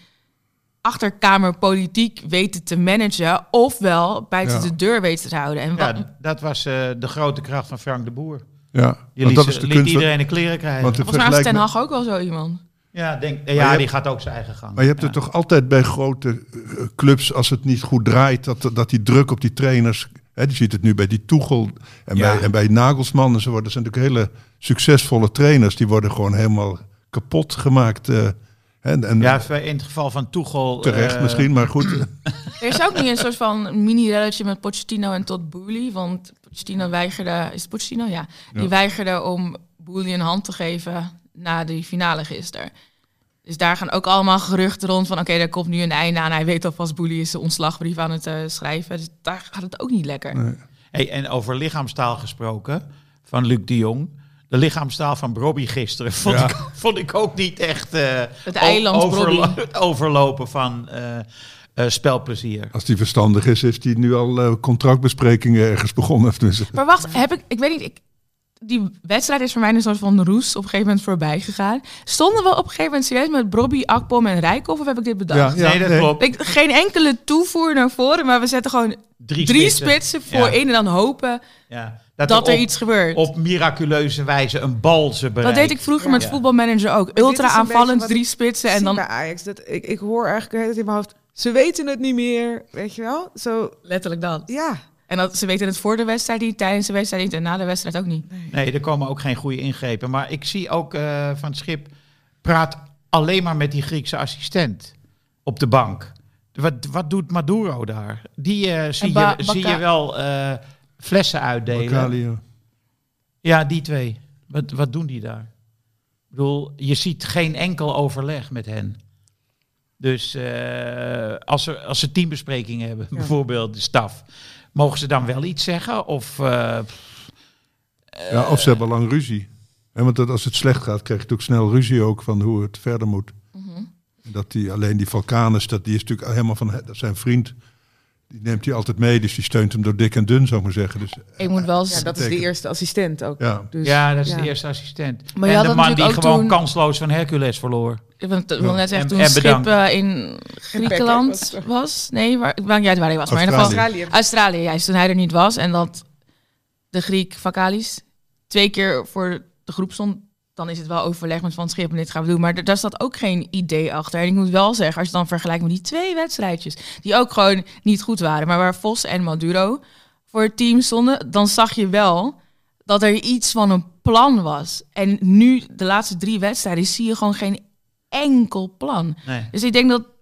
Speaker 2: achterkamerpolitiek weten te managen. Ofwel buiten
Speaker 4: Ja.
Speaker 2: de deur weten te houden. En
Speaker 1: Ja,
Speaker 2: wat,
Speaker 1: d- dat was eh, de grote kracht van Frank de Boer.
Speaker 4: Ja,
Speaker 1: Je liet,
Speaker 4: want dat is
Speaker 1: ze-
Speaker 4: de
Speaker 1: liet
Speaker 4: kunst.
Speaker 1: iedereen de kleren krijgen.
Speaker 4: want de
Speaker 2: volgens mij was
Speaker 4: vergelijk
Speaker 2: Ten
Speaker 4: met-
Speaker 2: Hag ook wel zo iemand.
Speaker 1: Ja, denk,
Speaker 4: je
Speaker 1: ja
Speaker 4: hebt-
Speaker 1: die gaat ook zijn eigen gang.
Speaker 4: Maar je hebt
Speaker 1: Ja.
Speaker 4: het toch altijd bij grote eh, clubs, als het niet goed draait, dat, dat die druk op die trainers. Hè, je ziet het nu bij die Toegel en,
Speaker 1: Ja.
Speaker 4: bij, en bij Nagelsman en zo. worden- Dat zijn natuurlijk hele succesvolle trainers. Die worden gewoon helemaal kapot gemaakt. eh, en, en
Speaker 1: Ja, v- in het geval van Toegel...
Speaker 4: terecht
Speaker 1: eh,
Speaker 4: misschien, maar
Speaker 1: <clears throat>
Speaker 4: goed.
Speaker 2: Er is ook niet een soort van mini-relletje met Pochettino en tot Bouli. Want Pochettino weigerde... Is het Pochettino? Ja. Die
Speaker 4: Ja.
Speaker 2: weigerde om Bouli een hand te geven na die finale gisteren. Dus daar gaan ook allemaal geruchten rond van... Oké, daar komt nu een einde aan. Hij weet alvast, Bouli is de ontslagbrief aan het eh, schrijven. Dus daar gaat het ook niet lekker.
Speaker 1: Hey, en over lichaamstaal gesproken, van Luc de Jong. De lichaamstaal van Robbie gisteren <laughs> vond,
Speaker 4: Ja.
Speaker 1: ik, vond ik ook niet echt... eh,
Speaker 2: Het eiland
Speaker 1: overlo-
Speaker 2: Robbie.
Speaker 1: het overlopen van eh, eh, spelplezier.
Speaker 4: Als die verstandig is, heeft hij nu al eh, contractbesprekingen ergens begonnen. Of tenminste,
Speaker 2: Maar wacht, heb ik, ik weet niet, ik, die wedstrijd is voor mij een soort van roes op een gegeven moment voorbij gegaan. Stonden we op een gegeven moment serieus met Bobby, Akpom en Rijkoff of heb ik dit bedacht?
Speaker 4: Ja,
Speaker 1: nee, dat
Speaker 4: nee.
Speaker 1: klopt.
Speaker 2: Ik, geen enkele toevoer naar voren, maar we zetten gewoon
Speaker 1: Drie,
Speaker 2: drie, spitsen
Speaker 1: Ja,
Speaker 2: voorin en dan hopen
Speaker 1: ja.
Speaker 2: dat, er
Speaker 1: op-
Speaker 2: iets gebeurt.
Speaker 1: op miraculeuze wijze een bal ze
Speaker 2: dat
Speaker 1: bereikt.
Speaker 2: deed ik vroeger met
Speaker 1: Ja.
Speaker 2: voetbalmanager ook.
Speaker 5: dit
Speaker 2: Ultra
Speaker 5: is een beetje
Speaker 2: aanvallend,
Speaker 5: wat
Speaker 2: drie
Speaker 5: ik
Speaker 2: spitsen en dan
Speaker 5: bij Ajax. Dat, ik, ik hoor eigenlijk de hele tijd in mijn hoofd. Ze weten het niet meer. Weet je wel? Zo,
Speaker 2: letterlijk dat.
Speaker 5: ja.
Speaker 2: En dat, ze weten het voor de wedstrijd niet, tijdens de wedstrijd niet en na de wedstrijd ook niet.
Speaker 1: Nee, er komen ook geen goede ingrepen. Maar ik zie ook eh, van Schip praat alleen maar met die Griekse assistent op de bank. Wat, wat doet Maduro daar? Die eh, zie,
Speaker 2: En Ba-
Speaker 1: je, zie
Speaker 2: Baka-
Speaker 1: je wel eh, flessen uitdelen.
Speaker 4: Bakali, ja.
Speaker 1: Ja, die twee. Wat, wat doen die daar? Ik bedoel, je ziet geen enkel overleg met hen. Dus eh, als, ze, als ze teambesprekingen hebben, <laughs>
Speaker 5: Ja.
Speaker 1: bijvoorbeeld de staf, mogen ze dan wel iets zeggen? Of eh,
Speaker 4: Ja,
Speaker 2: Eh,
Speaker 4: of ze hebben lang ruzie. Hè, want dat, als het slecht gaat, krijg je natuurlijk snel ruzie ook van hoe het verder moet.
Speaker 2: Mhm.
Speaker 4: En Dat die, alleen die Valkanus, dat die is natuurlijk helemaal van he- dat zijn vriend. Die neemt hij altijd mee, dus die steunt hem door dik en dun, zou ik maar zeggen. Dus,
Speaker 2: Ik moet wel
Speaker 5: ja,
Speaker 2: z-
Speaker 5: dat is de
Speaker 4: betekent-
Speaker 5: eerste assistent ook.
Speaker 4: ja.
Speaker 5: Dus,
Speaker 1: ja, dat is
Speaker 5: ja.
Speaker 1: de eerste assistent.
Speaker 2: Maar
Speaker 1: en
Speaker 2: je had
Speaker 1: de
Speaker 2: dat
Speaker 1: man die
Speaker 2: natuurlijk ook
Speaker 1: gewoon
Speaker 2: toen-
Speaker 1: kansloos van Hercules verloor.
Speaker 2: Ik wil- wil net zeggen,
Speaker 1: En-
Speaker 2: toen
Speaker 1: en
Speaker 2: Schip
Speaker 1: bedankt.
Speaker 2: eh, in
Speaker 5: was
Speaker 2: Griekenland
Speaker 5: het.
Speaker 2: was. Nee, waar, het maakt niet uit waar hij was. Maar in ieder geval
Speaker 4: Australië.
Speaker 5: Australië.
Speaker 2: Australië, juist. Toen hij er niet was. En dat de Griek Vakalis twee keer voor de groep stond. Dan is het wel overleg met Van Schip en dit gaan we doen. Maar d- daar staat ook geen idee achter. En ik moet wel zeggen, als je dan vergelijkt met die twee wedstrijdjes. Die ook gewoon niet goed waren. Maar waar Vos en Maduro voor het team stonden. Dan zag je wel dat er iets van een plan was. En nu, de laatste drie wedstrijden, zie je gewoon geen enkel plan.
Speaker 1: Nee.
Speaker 2: Dus ik denk dat dat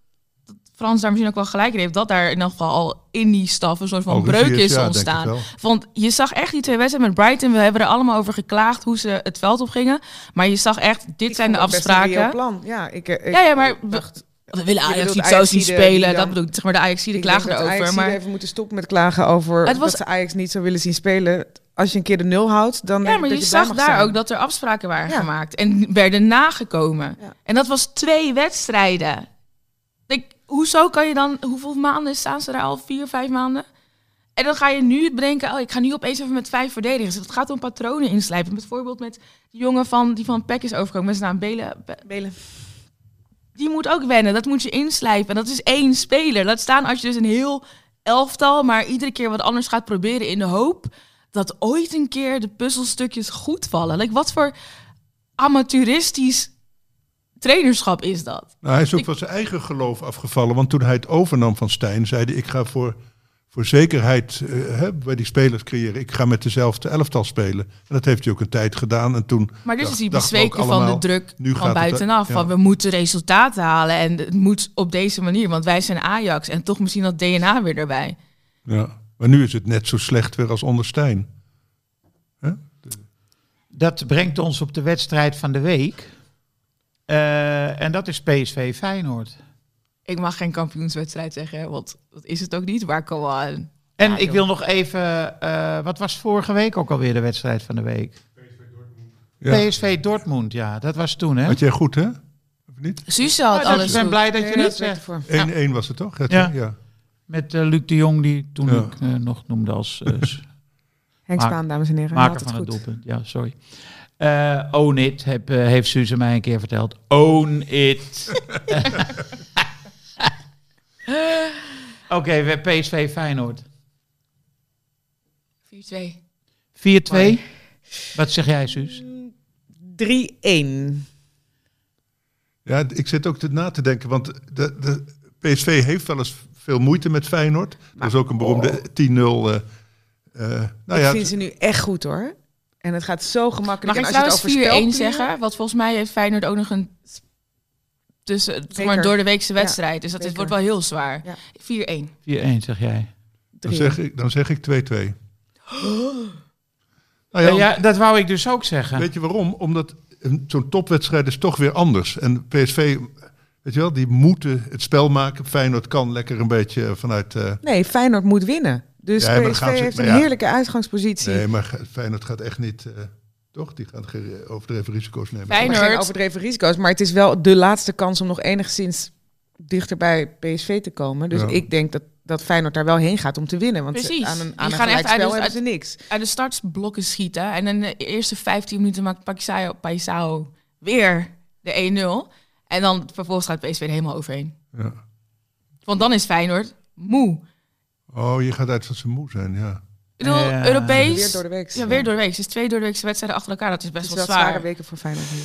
Speaker 2: Frans daar misschien ook wel gelijk in heeft. Dat daar in elk geval al in die staf een soort van
Speaker 4: Al ruzie
Speaker 2: breuk
Speaker 4: is,
Speaker 2: is
Speaker 4: Oh, ja, denk ik
Speaker 2: ontstaan.
Speaker 4: wel.
Speaker 2: Want je zag echt die twee wedstrijden met Brighton. We hebben er allemaal over geklaagd hoe ze het veld op gingen. Maar je zag echt, dit zijn de
Speaker 5: Ik vond het best een reëel
Speaker 2: afspraken.
Speaker 5: plan. Ja, ik, eh, ik
Speaker 2: Ja, ja, maar we,
Speaker 5: dacht,
Speaker 2: we willen Ajax
Speaker 5: bedoelt
Speaker 2: niet zo zien
Speaker 5: Ajaxide die
Speaker 2: spelen.
Speaker 5: dan-
Speaker 2: Dat bedoel ik, zeg maar de Ajax die
Speaker 5: ik denk
Speaker 2: klagen
Speaker 5: dat Ajax
Speaker 2: erover.
Speaker 5: hier
Speaker 2: Maar
Speaker 5: even moeten stoppen met klagen over
Speaker 2: Het was-
Speaker 5: dat ze Ajax niet zo willen zien spelen. Als je een keer de nul houdt, dan
Speaker 2: Ja, maar je, zag daar ook
Speaker 5: dat...
Speaker 2: dat er afspraken waren
Speaker 5: Ja.
Speaker 2: gemaakt en werden nagekomen.
Speaker 5: Ja.
Speaker 2: En dat was twee wedstrijden. Ik, hoezo kan je dan, hoeveel maanden staan ze daar al? Vier, vijf maanden? En dan ga je nu bedenken, oh, ik ga nu opeens even met vijf verdedigers. Het gaat om patronen inslijpen. Bijvoorbeeld met die jongen van, die van Peck is overgekomen, met zijn naam Belen. Be-
Speaker 5: je daar mag zijn.
Speaker 2: die moet ook wennen. Dat moet je inslijpen. En dat is één speler. Laat staan als je dus een heel elftal, maar iedere keer wat anders gaat proberen in de hoop dat ooit een keer de puzzelstukjes goed vallen. Like, wat voor amateuristisch trainerschap is dat?
Speaker 4: Nou, hij is ook
Speaker 2: Ik-
Speaker 4: van zijn eigen geloof afgevallen. Want toen hij het overnam van Stijn, zei hij: Ik ga voor, voor zekerheid eh, hè, bij die spelers creëren. Ik ga met dezelfde elftal spelen. En dat heeft hij ook een tijd gedaan. En toen
Speaker 2: Maar dus
Speaker 4: dacht-
Speaker 2: is hij
Speaker 4: dachten we
Speaker 2: bezweken
Speaker 4: ook
Speaker 2: van de
Speaker 4: allemaal,
Speaker 2: druk
Speaker 4: nu gaat
Speaker 2: van
Speaker 4: het-
Speaker 2: buitenaf.
Speaker 4: ja.
Speaker 2: Van we moeten resultaten halen en het moet op deze manier. Want wij zijn Ajax en toch misschien dat DNA weer erbij.
Speaker 4: Ja. Maar nu is het net zo slecht weer als onder Stijn.
Speaker 1: Dat brengt ons op de wedstrijd van de week. Eh, en dat is PSV Feyenoord.
Speaker 2: Ik mag geen kampioenswedstrijd zeggen, hè, want dat is het ook niet. Maar come on.
Speaker 1: En
Speaker 2: Ja,
Speaker 1: ik
Speaker 2: joh.
Speaker 1: wil nog even, eh, wat was vorige week ook alweer de wedstrijd van de week?
Speaker 4: Ja.
Speaker 1: PSV Dortmund, ja, dat was toen hè?
Speaker 4: Had jij goed, hè? Of niet?
Speaker 2: Suze had
Speaker 1: Ja, dat-
Speaker 2: alles
Speaker 1: ik ben
Speaker 2: goed.
Speaker 1: blij dat
Speaker 5: Nee,
Speaker 1: je dat
Speaker 5: respect
Speaker 1: zegt.
Speaker 5: ervoor.
Speaker 4: 1-1 was het toch? Het-
Speaker 1: Ja.
Speaker 4: ja.
Speaker 1: Met eh, Luc de Jong, die toen
Speaker 4: Ja.
Speaker 1: ik eh, nog noemde als eh, s-
Speaker 5: Henk
Speaker 1: Maak-
Speaker 5: Spaan, dames en heren.
Speaker 1: maker
Speaker 5: Maak
Speaker 1: van
Speaker 5: het
Speaker 1: het,
Speaker 5: goed.
Speaker 1: doelpunt. Ja, sorry. Eh own it, heb, eh, heeft Suze mij een keer verteld. Own it. <laughs> Oké, we PSV Feyenoord.
Speaker 2: 4-2.
Speaker 1: 4-2. Wat zeg jij, Suus?
Speaker 5: 3-1.
Speaker 4: Ja, d- ik zit ook te na te denken, want de, de PSV heeft wel eens veel moeite met Feyenoord. Dat is ook een beroemde 10-0. eh, eh, nou
Speaker 5: Oh. ik
Speaker 4: ja,
Speaker 5: vind ze nu echt goed hoor. En het gaat zo gemakkelijk.
Speaker 2: Mag
Speaker 5: En
Speaker 2: ik
Speaker 5: als je het
Speaker 2: trouwens
Speaker 5: over
Speaker 2: 4-1
Speaker 5: spelpapier-
Speaker 2: zeggen? Want volgens mij heeft Feyenoord ook nog een tussen, zeg maar,
Speaker 5: Zeker.
Speaker 2: door de weekse
Speaker 5: Ja,
Speaker 2: wedstrijd. dus dat dit
Speaker 5: zeker.
Speaker 2: wordt wel heel zwaar.
Speaker 5: Ja.
Speaker 2: 4-1.
Speaker 1: 4-1 zeg jij.
Speaker 4: dan, zeg ik, dan zeg ik
Speaker 5: <gasps>
Speaker 4: 2-2. Nou
Speaker 1: Ja, dat wou ik dus ook zeggen.
Speaker 4: Weet je waarom? Omdat een- zo'n topwedstrijd is toch weer anders. En PSV, weet je wel, die moeten het spel maken. Feyenoord kan lekker een beetje vanuit... eh,
Speaker 5: Nee, Feyenoord moet winnen. Dus
Speaker 4: Ja, maar dan
Speaker 5: PSV
Speaker 4: gaan ze-
Speaker 5: heeft een
Speaker 4: maar ja.
Speaker 5: heerlijke uitgangspositie.
Speaker 4: nee, maar ge- Feyenoord gaat echt niet... eh, toch? Die gaat geen overdreven risico's nemen.
Speaker 5: Maar geen
Speaker 2: Feyenoord,
Speaker 5: overdreven risico's. Maar het is wel de laatste kans om nog enigszins dichter bij PSV te komen. Dus
Speaker 4: Ja.
Speaker 5: ik denk dat, dat Feyenoord daar wel heen gaat om te winnen. Want ze-
Speaker 2: Precies.
Speaker 5: aan een,
Speaker 2: Die
Speaker 5: aan een
Speaker 2: gaan echt
Speaker 5: gelijk spel
Speaker 2: uit-
Speaker 5: hebben
Speaker 2: uit-
Speaker 5: ze niks.
Speaker 2: uit de startsblokken schieten. En in de eerste 15 minuten maakt Paisao, Paisao weer de 1-0. En dan vervolgens gaat PSV er helemaal overheen.
Speaker 4: Ja.
Speaker 2: Want dan is Feyenoord moe.
Speaker 4: Oh, je gaat uit dat ze moe zijn, ja.
Speaker 2: Ik bedoel,
Speaker 1: Ja.
Speaker 2: Europees.
Speaker 5: Weer door de week.
Speaker 2: Ja, weer door de week. Dus twee door de weekse wedstrijden achter elkaar. Dat is best
Speaker 5: Het is
Speaker 2: wel
Speaker 5: wel zware
Speaker 2: zwaar.
Speaker 5: weken voor Feyenoord. nu.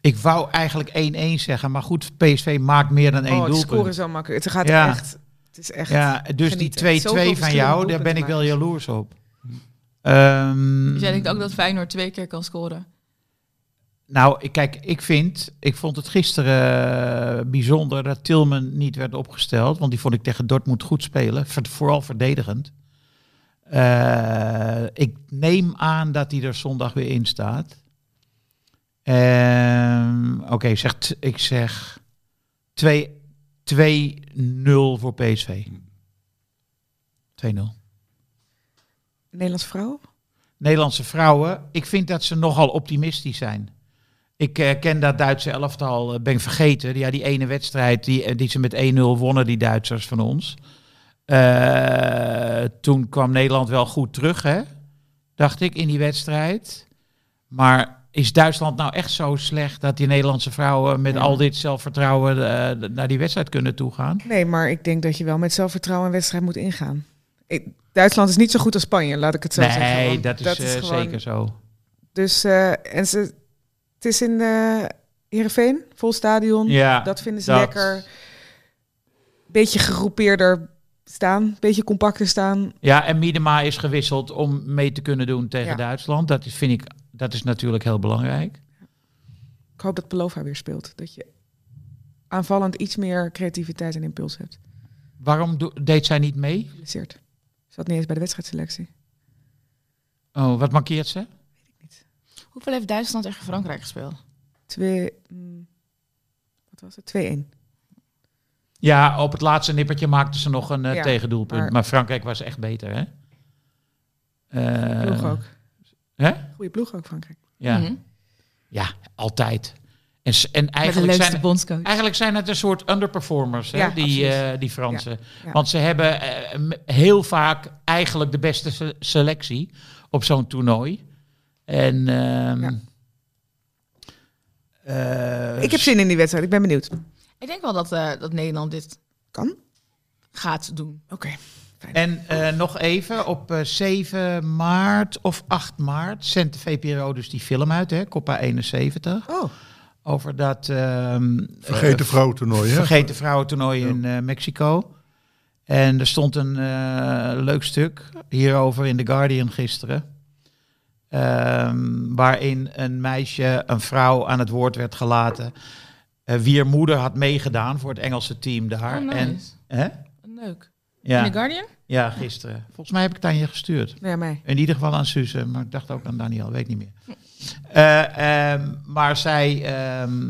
Speaker 1: Ik wou eigenlijk 1-1 zeggen, maar goed, PSV maakt meer dan één
Speaker 5: oh, het scoren
Speaker 1: doelpunt.
Speaker 5: is wel makkelijk. Het gaat
Speaker 1: Ja.
Speaker 5: echt... Het is echt
Speaker 1: Ja, dus
Speaker 5: genieten. Zoveel
Speaker 1: die 2-2 van
Speaker 5: verschillende
Speaker 1: jou, daar ben
Speaker 5: doelpunten
Speaker 1: ik wel
Speaker 5: maken.
Speaker 1: jaloers op. Ehm,
Speaker 2: Dus jij
Speaker 1: Mm.
Speaker 2: denkt ook dat Feyenoord twee keer kan scoren.
Speaker 1: nou, kijk, ik vind, ik vond het gisteren eh, bijzonder dat Tilman niet werd opgesteld, want die vond ik tegen Dortmund goed spelen, ver- vooral verdedigend. Eh, ik neem aan dat hij er zondag weer in staat. Ehm, Oké, zegt, ik zeg 2 2-0 voor PSV. 2-0.
Speaker 5: Nederlands vrouw?
Speaker 1: Nederlandse vrouwen, ik vind dat ze nogal optimistisch zijn. Ik eh, ken dat Duitse elftal, eh, ben ik vergeten. Ja, die ene wedstrijd die, eh, die ze met 1-0 wonnen, die Duitsers van ons. Eh, toen kwam Nederland wel goed terug, hè? dacht ik, in die wedstrijd. Maar is Duitsland nou echt zo slecht dat die Nederlandse vrouwen met
Speaker 5: Ja.
Speaker 1: al dit zelfvertrouwen eh, naar die wedstrijd kunnen toegaan?
Speaker 5: Nee, maar ik denk dat je wel met zelfvertrouwen een wedstrijd moet ingaan. Ik- Duitsland is niet zo goed als Spanje, laat ik het zo zeggen.
Speaker 1: Nee,
Speaker 5: want
Speaker 1: dat is, eh,
Speaker 5: gewoon-
Speaker 1: zeker zo.
Speaker 5: Dus, eh, en ze, het is in eh Heerenveen, vol stadion.
Speaker 1: Ja,
Speaker 5: dat vinden ze
Speaker 1: dat-
Speaker 5: lekker. Beetje gegroepeerder staan, beetje compacter staan.
Speaker 1: Ja, en Miedema is gewisseld om mee te kunnen doen tegen
Speaker 5: Ja.
Speaker 1: Duitsland. Dat is, vind ik, dat is natuurlijk heel belangrijk.
Speaker 5: Ik hoop dat Pelova weer speelt. Dat je aanvallend iets meer creativiteit en impuls hebt.
Speaker 1: Waarom do- deed zij niet mee?
Speaker 5: Geblesseerd. Zat niet eens bij de wedstrijdselectie.
Speaker 1: Oh, wat mankeert ze?
Speaker 2: Hoeveel heeft Duitsland tegen Frankrijk gespeeld?
Speaker 5: Twee, mm, wat was het? 2-1.
Speaker 1: Ja, op het laatste nippertje maakte ze nog een eh,
Speaker 5: Ja,
Speaker 1: tegendoelpunt. Maar...
Speaker 5: maar-
Speaker 1: Frankrijk was echt beter, hè? Eh,
Speaker 5: Ploeg ook.
Speaker 1: Hè?
Speaker 5: Goeie ploeg ook, Frankrijk.
Speaker 1: Ja.
Speaker 2: Mhm.
Speaker 1: ja, altijd. En, s- en
Speaker 2: Met de
Speaker 1: eigenlijk
Speaker 2: leukste
Speaker 1: zijn,
Speaker 2: bondscoach.
Speaker 1: Eigenlijk zijn het een soort underperformers, hè,
Speaker 5: Ja,
Speaker 1: die,
Speaker 5: absoluut.
Speaker 1: eh, die Fransen.
Speaker 5: ja.
Speaker 1: Want ze hebben eh, m- heel vaak eigenlijk de beste se- selectie op zo'n toernooi. En ehm,
Speaker 5: Ja.
Speaker 1: eh,
Speaker 5: Ik heb zin in die wedstrijd, ik ben benieuwd.
Speaker 2: Ik denk wel dat, eh, dat Nederland dit
Speaker 5: Kan? Oké.
Speaker 2: gaat doen.
Speaker 1: En eh, nog even, op eh, 7 maart of 8 maart zendt de VPRO dus die film uit, hè, Coppa 71.
Speaker 5: Oh,
Speaker 1: Over dat... ehm,
Speaker 4: Vergeten
Speaker 1: eh,
Speaker 4: vrouwentoernooi, hè?
Speaker 1: Vergeten vrouwentoernooi
Speaker 4: Ja.
Speaker 1: in eh, Mexico. En er stond een eh, leuk stuk hierover in The Guardian gisteren. Ehm, waarin een meisje, een vrouw aan het woord werd gelaten. eh wie haar moeder had meegedaan voor het Engelse team daar.
Speaker 2: Oh, nice.
Speaker 1: en, hè?
Speaker 2: Leuk. In
Speaker 1: Ja,
Speaker 2: The Guardian?
Speaker 1: ja, gisteren. Volgens mij heb ik het aan je gestuurd.
Speaker 5: nee, Nou mij.
Speaker 1: In ieder geval aan Suze, maar ik dacht ook aan Daniel, weet ik niet meer. Eh, ehm, maar zij, ehm,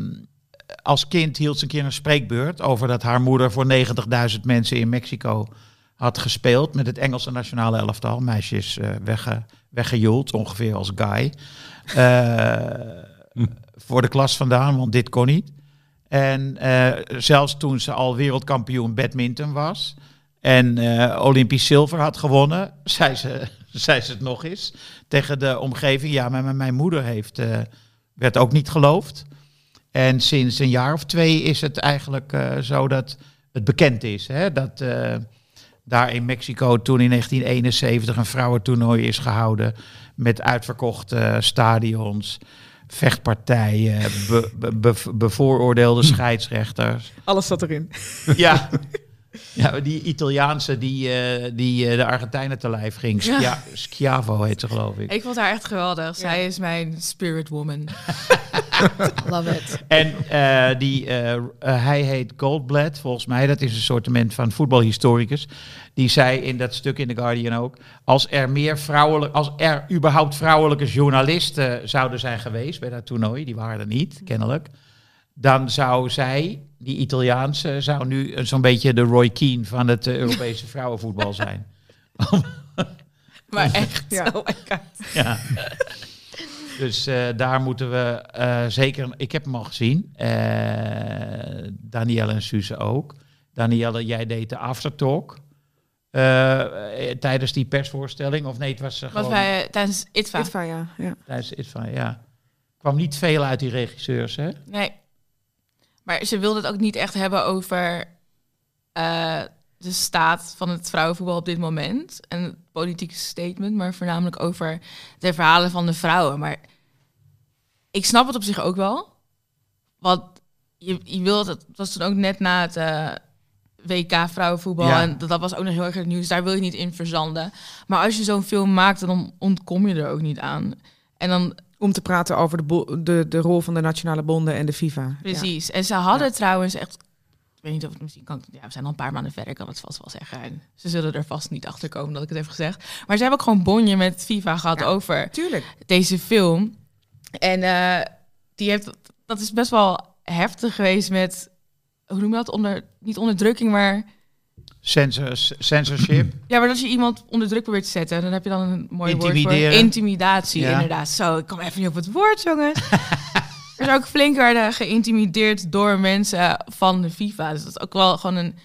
Speaker 1: als kind hield ze een keer een spreekbeurt over dat haar moeder voor 90.000 mensen in Mexico had gespeeld met het Engelse nationale elftal. Meisjes eh wegge, weggejoeld, ongeveer als guy. Eh, Voor de klas vandaan, want dit kon niet. En eh, zelfs toen ze al wereldkampioen badminton was en eh, Olympisch zilver had gewonnen, <laughs> zei ze, zei ze het nog eens tegen de omgeving. Ja, maar mijn- mijn moeder heeft, eh, werd ook niet geloofd. En sinds een jaar of twee is het eigenlijk eh, zo dat het bekend is. Hè? Dat eh, daar in Mexico toen in 1971 een vrouwentoernooi is gehouden met uitverkochte eh, stadions. vechtpartijen, be- be- be- bevooroordeelde scheidsrechters.
Speaker 5: Alles zat erin.
Speaker 1: Ja. ja, die Italiaanse die, eh, die eh, de Argentijnen te lijf ging. Schia-
Speaker 2: Ja.
Speaker 1: Schiavo heet ze geloof ik.
Speaker 2: Ik vond haar echt geweldig. Zij is mijn spirit <laughs> woman. Love it.
Speaker 1: En eh, die, eh, eh, hij heet Goldblatt, volgens mij. Dat is een soortement van voetbalhistoricus. Die zei in dat stuk in The Guardian ook... als er, meer vrouwelijk, als er überhaupt vrouwelijke journalisten zouden zijn geweest... bij dat toernooi, die waren er niet, kennelijk... dan zou zij, die Italiaanse... zou nu een- zo'n beetje de Roy Keane van het eh, Europese vrouwenvoetbal zijn.
Speaker 2: Maar echt,
Speaker 5: Ja.
Speaker 2: oh my god.
Speaker 1: Ja. Dus eh, daar moeten we eh, zeker. Ik heb hem al gezien. Eh Danielle en Suze ook. Danielle, jij deed de aftertalk. eh, eh, tijdens die persvoorstelling. Of nee, het was eh,
Speaker 2: Wat
Speaker 1: gewoon
Speaker 2: wij eh, tijdens ITVA.
Speaker 5: Dit van ja. ja.
Speaker 1: tijdens het van ja. Kwam niet veel uit die regisseurs, hè?
Speaker 2: Nee. Maar ze wilde het ook niet echt hebben over eh, de staat van het vrouwenvoetbal op dit moment. En het politieke statement, maar voornamelijk over de verhalen van de vrouwen. Maar ik snap het op zich ook wel. Want je, je wilt, het was toen ook net na het eh, WK vrouwenvoetbal.
Speaker 1: Ja.
Speaker 2: En dat, dat was ook nog heel erg het nieuws. Daar wil je niet in verzanden. Maar als je zo'n film maakt, dan ontkom je er ook niet aan. En dan
Speaker 5: Om te praten over de, bo- de, de rol van de nationale bonden en de FIFA. Ja.
Speaker 2: Precies. En ze hadden trouwens echt. Ik weet niet of ik misschien kan. Ja, we zijn al een paar maanden verder, ik kan het vast wel zeggen. En ze zullen er vast niet achter komen dat ik het heb gezegd. Maar ze hebben ook gewoon bonje met FIFA gehad
Speaker 5: Ja.
Speaker 2: over
Speaker 5: Tuurlijk.
Speaker 2: deze film. En eh, die heeft. Dat is best wel heftig geweest met. Hoe noem je dat? Onder, niet onderdrukking, maar.
Speaker 1: Censors, censorship.
Speaker 2: Ja, maar als je iemand onder druk probeert te zetten, dan heb je dan een mooi woord voor.
Speaker 1: Intimideren.
Speaker 2: Intimidatie,
Speaker 1: Ja.
Speaker 2: inderdaad. Zo, ik kom even niet op het woord, jongens.
Speaker 5: <laughs>
Speaker 2: er is ook flink werden geïntimideerd door mensen van de FIFA. Dus dat is ook wel gewoon een...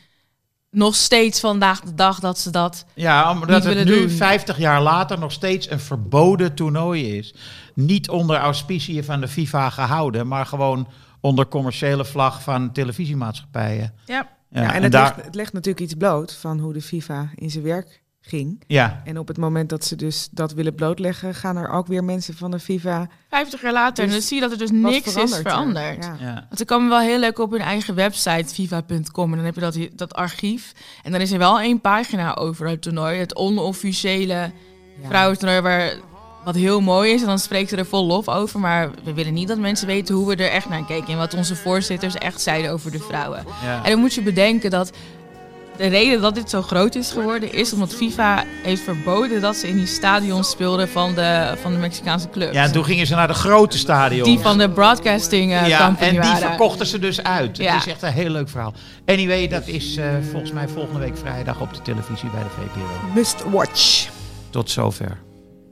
Speaker 2: Nog steeds vandaag de dag dat ze dat...
Speaker 1: ja, omdat
Speaker 2: Niet
Speaker 1: het
Speaker 2: willen
Speaker 1: nu,
Speaker 2: doen.
Speaker 1: 50 jaar later, nog steeds een verboden toernooi is. Niet onder auspiciën van de FIFA gehouden, maar gewoon onder commerciële vlag van televisiemaatschappijen.
Speaker 2: Ja.
Speaker 1: Ja,
Speaker 5: Ja, en,
Speaker 1: en
Speaker 5: het,
Speaker 1: daar,
Speaker 5: legt, het legt natuurlijk iets bloot van hoe de FIFA in zijn werk ging.
Speaker 1: ja,
Speaker 5: En op het moment dat ze dus dat willen blootleggen, gaan er ook weer mensen van de FIFA. wat
Speaker 2: 50 jaar later. en
Speaker 5: Dus
Speaker 2: dan zie je dat er dus niks is
Speaker 5: veranderd er.
Speaker 2: veranderd.
Speaker 5: Ja.
Speaker 1: ja.
Speaker 2: Want ze komen wel heel leuk op hun eigen website, viva.com. En dan heb je dat, dat archief. En dan is er wel één pagina over het toernooi. Het onofficiële
Speaker 5: Ja.
Speaker 2: vrouwentoernooi waar wat heel mooi is. En dan spreekt ze er vol lof over. Maar we willen niet dat mensen weten hoe we er echt naar keken. En wat onze voorzitters echt zeiden over de vrouwen.
Speaker 1: ja.
Speaker 2: En dan moet je bedenken dat de reden dat dit zo groot is geworden... is omdat FIFA heeft verboden dat ze in die stadions speelden van de, van de Mexicaanse clubs.
Speaker 1: Ja, en toen gingen ze naar de grote stadion.
Speaker 2: die van de broadcasting eh
Speaker 1: ja,
Speaker 2: company
Speaker 1: en die
Speaker 2: waren.
Speaker 1: verkochten ze dus uit.
Speaker 2: Ja.
Speaker 1: Het is echt een heel leuk verhaal. Anyway, dat is eh, volgens mij volgende week vrijdag op de televisie bij de VPRO.
Speaker 5: Must watch.
Speaker 1: Tot zover.